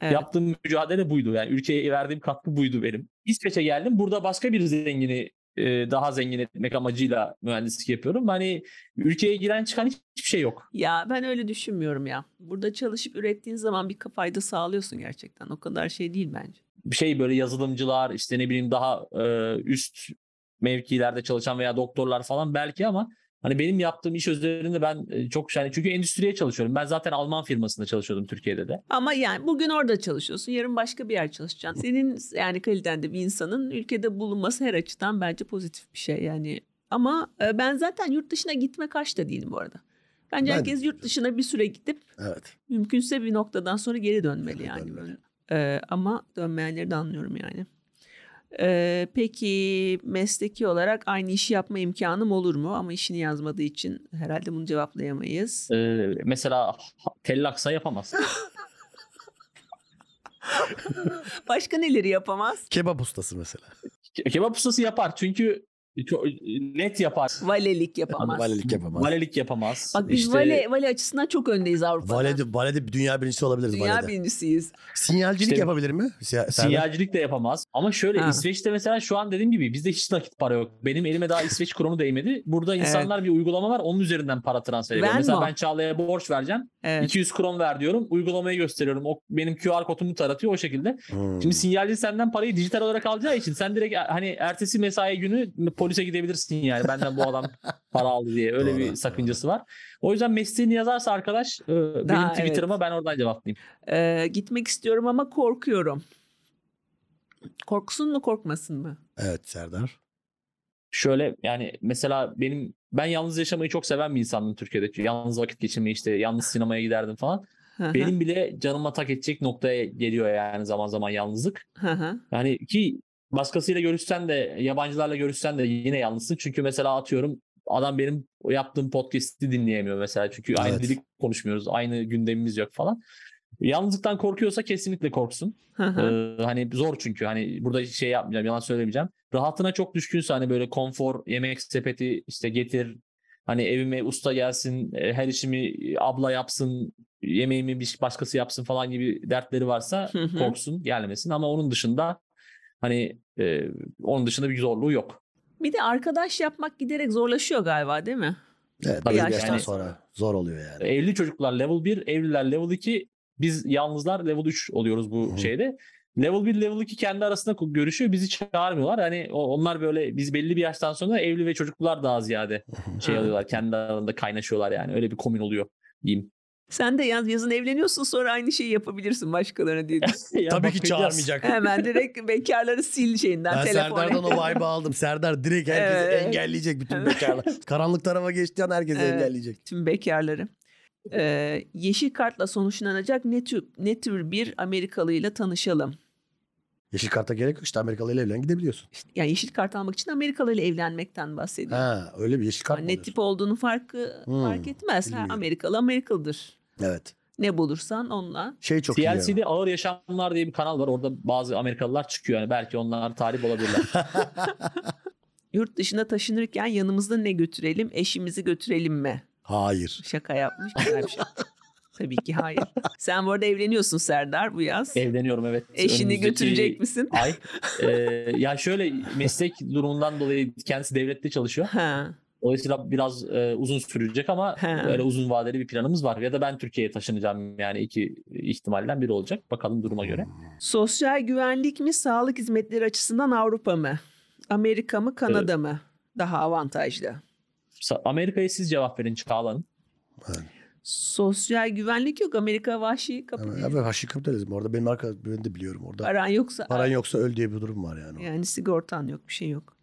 Evet.
Yaptığım mücadele buydu. Yani ülkeye verdiğim katkı buydu benim. İsveç'e geldim. Burada başka bir zengini e, daha zengin etmek amacıyla mühendislik yapıyorum. Hani ülkeye giren çıkan hiç- hiçbir şey yok.
Ya ben öyle düşünmüyorum ya. Burada çalışıp ürettiğin zaman bir fayda sağlıyorsun gerçekten. O kadar şey değil bence.
şey böyle yazılımcılar işte ne bileyim daha e, üst mevkilerde çalışan veya doktorlar falan belki ama hani benim yaptığım iş üzerinde ben e, çok yani çünkü endüstriye çalışıyorum. Ben zaten Alman firmasında çalışıyordum Türkiye'de de.
Ama yani bugün orada çalışıyorsun, yarın başka bir yer çalışacaksın. Senin yani kalitende bir insanın ülkede bulunması her açıdan bence pozitif bir şey. Yani Ama e, ben zaten yurt dışına gitme karşı da değilim bu arada. Bence
Ben-
herkes yurt dışına bir süre gidip
Evet.
mümkünse bir noktadan sonra geri dönmeli
Geri
yani.
dönmeli.
E, ama dönmeyenleri de anlıyorum yani. E, peki mesleki olarak aynı işi yapma imkanım olur mu? Ama işini yazmadığı için herhalde bunu cevaplayamayız.
Ee, mesela
*laughs*
tellaksa yapamaz.
Başka neleri yapamaz?
Kebap ustası mesela.
Ke- Kebap ustası yapar çünkü çok net yapar.
Valelik yapamaz.
Valelik yapamaz.
Valelik yapamaz.
Bak biz
İşte
vale, vale açısından çok öndeyiz Avrupa'da.
Valede, valede dünya birincisi olabiliriz
Dünya
valede.
birincisiyiz.
Sinyalcilik
İşte-
yapabilir mi? Siya- Serdar?
sinyalcilik de yapamaz. Ama şöyle
Ha.
İsveç'te mesela şu an dediğim gibi bizde hiç nakit para yok. Benim elime daha İsveç kronu değmedi. Burada
Evet.
insanlar bir uygulama var onun üzerinden para transfer ediyor.
Venmo.
Mesela ben Çağla'ya borç vereceğim.
Evet.
200 kron ver diyorum. Uygulamayı gösteriyorum. O benim QR kodumu taratıyor o şekilde.
Hmm.
Şimdi sinyalci senden parayı dijital olarak alacağı için sen direkt hani ertesi mesai günü polise gidebilirsin yani benden bu adam para aldı diye. Öyle
Doğru,
bir
doğru.
sakıncası var. O yüzden mesleğini yazarsa arkadaş e, benim
Daha,
Twitter'ıma ben oradan cevaplayayım.
Ee, gitmek istiyorum ama korkuyorum. Korksun mu korkmasın mı?
Evet Serdar.
Şöyle yani mesela benim ben yalnız yaşamayı çok seven bir insandım Türkiye'de. Yalnız vakit geçirmeyi işte yalnız sinemaya giderdim falan.
Hı hı,
Benim bile canıma tak edecek noktaya geliyor yani zaman zaman yalnızlık.
hı hı.
Yani ki başkasıyla görüşsen de yabancılarla görüşsen de yine yalnızsın. Çünkü mesela atıyorum adam benim yaptığım podcast'i dinleyemiyor mesela. Çünkü aynı
Evet.
dili konuşmuyoruz. Aynı gündemimiz yok falan. Yalnızlıktan korkuyorsa kesinlikle korksun.
Hı hı.
Ee, hani zor çünkü hani burada şey yapmayacağım yalan söylemeyeceğim. Rahatına çok düşkünse hani böyle konfor, yemek sepeti işte getir. Hani evime usta gelsin, e, her işimi abla yapsın, yemeğimi bir başkası yapsın falan gibi dertleri varsa
Hı hı.
korksun, gelmesin. Ama onun dışında hani e, onun dışında bir zorluğu yok.
Bir de arkadaş yapmak giderek zorlaşıyor galiba değil mi?
Evet,
Tabii
belli bir
yani-
yaştan sonra zor oluyor yani.
Evli çocuklar level 1, evliler level 2, biz yalnızlar level 3 oluyoruz bu
Hı.
şeyde. Level 1, level 2 kendi arasında ku- görüşüyor. Bizi çağırmıyorlar. Hani o- onlar böyle biz belli bir yaştan sonra evli ve çocuklar daha ziyade şey
Hı.
alıyorlar. Kendi aralarında kaynaşıyorlar yani. Öyle bir komün oluyor diyeyim. *laughs*
Sen de yaz, yazın evleniyorsun sonra aynı şeyi yapabilirsin başkalarına
*laughs*
diye. düşün.
Ya
Tabii ki
bakacağız.
çağırmayacak.
Hemen direkt bekarları sil şeyinden
Ben
telefonu.
Serdar'dan o vibe'ı aldım. Serdar direkt herkesi
Evet.
engelleyecek bütün
Evet.
bekarlar. Karanlık tarafa geçtiği an herkesi
Evet.
engelleyecek.
Tüm bekarları. Ee, yeşil kartla sonuçlanacak ne tür, ne tür bir Amerikalıyla tanışalım?
Yeşil karta gerek yok. İşte Amerikalı ile evlen gidebiliyorsun.
Yani yeşil kart almak için Amerikalıyla evlenmekten bahsediyor.
Ha, öyle bir yeşil kart mı
ne
alıyorsun?
tip olduğunu farkı
Hmm,
fark etmez. Her
bilmiyorum.
Amerikalı Amerikalıdır.
Evet.
Ne bulursan onunla.
Şey çok iyi.
TLC'de Ağır Yaşamlar diye bir kanal var. Orada bazı Amerikalılar çıkıyor. Yani belki onlar talip olabilirler.
*laughs*
Yurt dışına taşınırken yanımızda ne götürelim? Eşimizi götürelim mi?
Hayır.
Şaka yapmış. Güzel bir şey. Tabii ki hayır. Sen bu arada evleniyorsun Serdar bu yaz.
Evleniyorum evet.
Eşini
Önümüzdeki
götürecek misin?
Ay. Ee, ya şöyle meslek durumundan dolayı kendisi devlette çalışıyor.
Ha.
Dolayısıyla biraz e, uzun sürecek ama
He.
öyle uzun vadeli bir planımız var. Ya da ben Türkiye'ye taşınacağım yani iki ihtimalden biri olacak. Bakalım duruma göre.
Hmm.
Sosyal güvenlik mi, sağlık hizmetleri açısından Avrupa mı? Amerika mı, Kanada mı? Daha avantajlı.
Sa- Amerika'ya siz cevap verin Çağla'nın.
Sosyal güvenlik yok. Amerika vahşi
Ama
kapitalizm.
abi haşi kapitalizm. Orada benim arkadaşım ben de biliyorum orada.
Paran yoksa
Paran yoksa öl diye bir durum var yani.
Yani sigortan yok, bir şey yok.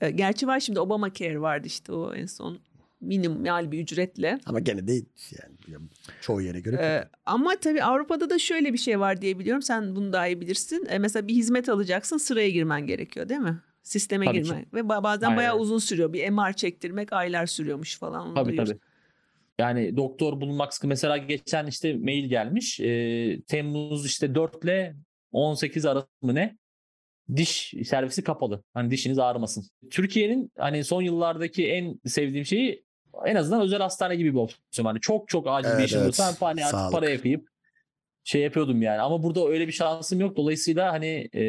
E, Gerçi var şimdi Obamacare vardı işte o en son minimal bir ücretle.
Ama gene de yani çoğu yere göre.
E, ama tabii Avrupa'da da şöyle bir şey var diye biliyorum. Sen bunu daha iyi bilirsin. E, mesela bir hizmet alacaksın, sıraya girmen gerekiyor değil mi? Sisteme
Tabii
girmen. Ve ba- bazen
Aynen
bayağı
öyle.
uzun sürüyor. Bir MR çektirmek aylar sürüyormuş falan. Onu
Tabii
duyuyoruz.
tabii. Yani doktor bulunmak sıkı. Mesela geçen işte mail gelmiş. Ee, Temmuz işte 4 ile 18 arası mı ne? Diş servisi kapalı. Hani dişiniz ağrımasın. Türkiye'nin hani son yıllardaki en sevdiğim şeyi en azından özel hastane gibi bir opsiyon. Hani çok çok acil bir
Evet,
işim
evet.
olursa hem hani artık
Sağlık.
para yapayım. Şey yapıyordum yani. Ama burada öyle bir şansım yok. Dolayısıyla hani e,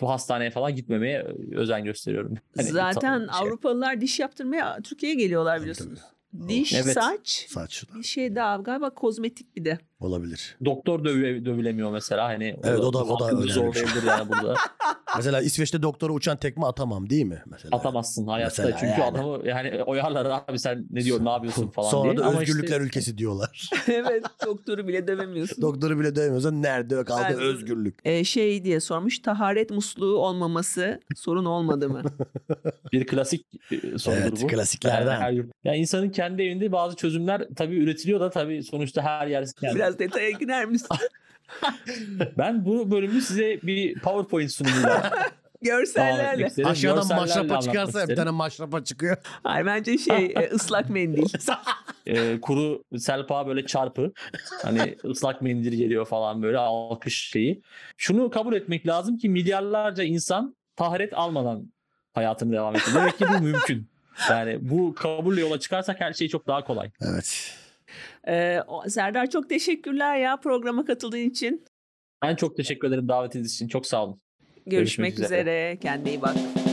bu hastaneye falan gitmemeye özen gösteriyorum. Hani
Zaten
şey-
Avrupalılar diş yaptırmaya Türkiye'ye geliyorlar
Tabii,
biliyorsunuz.
tabii.
Diş,
Evet.
saç,
Saç da
bir şey daha galiba kozmetik bir de. *laughs*
olabilir.
doktor dövü- dövülemiyor mesela hani
Evet, o da- o da
hakkını
önemli bir şey. *laughs*
zorlayabilir yani burada.
Mesela İsveç'te doktora uçan tekme atamam değil mi? Mesela.
Atamazsın hayatta.
Mesela
Çünkü
yani.
adamı yani oyarlar abi sen ne diyorsun
*laughs*
ne yapıyorsun falan
Sonra
diye.
da
Ama
özgürlükler
işte
ülkesi diyorlar. *laughs*
evet doktoru bile dövemiyorsun.
Doktoru bile dövmüyorsan nerede kaldı
Ben-
özgürlük?
Ee, şey diye sormuş taharet musluğu olmaması sorun olmadı mı?
bir klasik e, sorudur
Evet
bu. Ee,
klasiklerden.
Her yurt- Yani insanın kendi evinde bazı çözümler tabii üretiliyor da tabii sonuçta her yer. *laughs* yani
Biraz detaya girer misin?
*laughs* ben bu bölümü size bir PowerPoint sunumuyla
*laughs*
devam etmek
Görsellerle.
isterim.
Aşağıdan
Görsellerle
maşrapa
anlatmak
çıkarsa bir
isterim.
tane maşrapa çıkıyor.
Hayır bence şey e, ıslak mendil.
Ee, kuru selpa böyle çarpı. Hani ıslak mendil geliyor falan böyle alkış şeyi. Şunu kabul etmek lazım ki milyarlarca insan taharet almadan hayatını devam ediyor. Demek ki bu mümkün. Yani bu kabulle yola çıkarsak her şey çok daha kolay.
Evet.
Ee, o- Serdar çok teşekkürler ya programa katıldığın için.
Ben çok teşekkür ederim davetiniz için. Çok sağ olun.
Görüşmek
Görüşmek üzere.
üzere. Kendine iyi bak.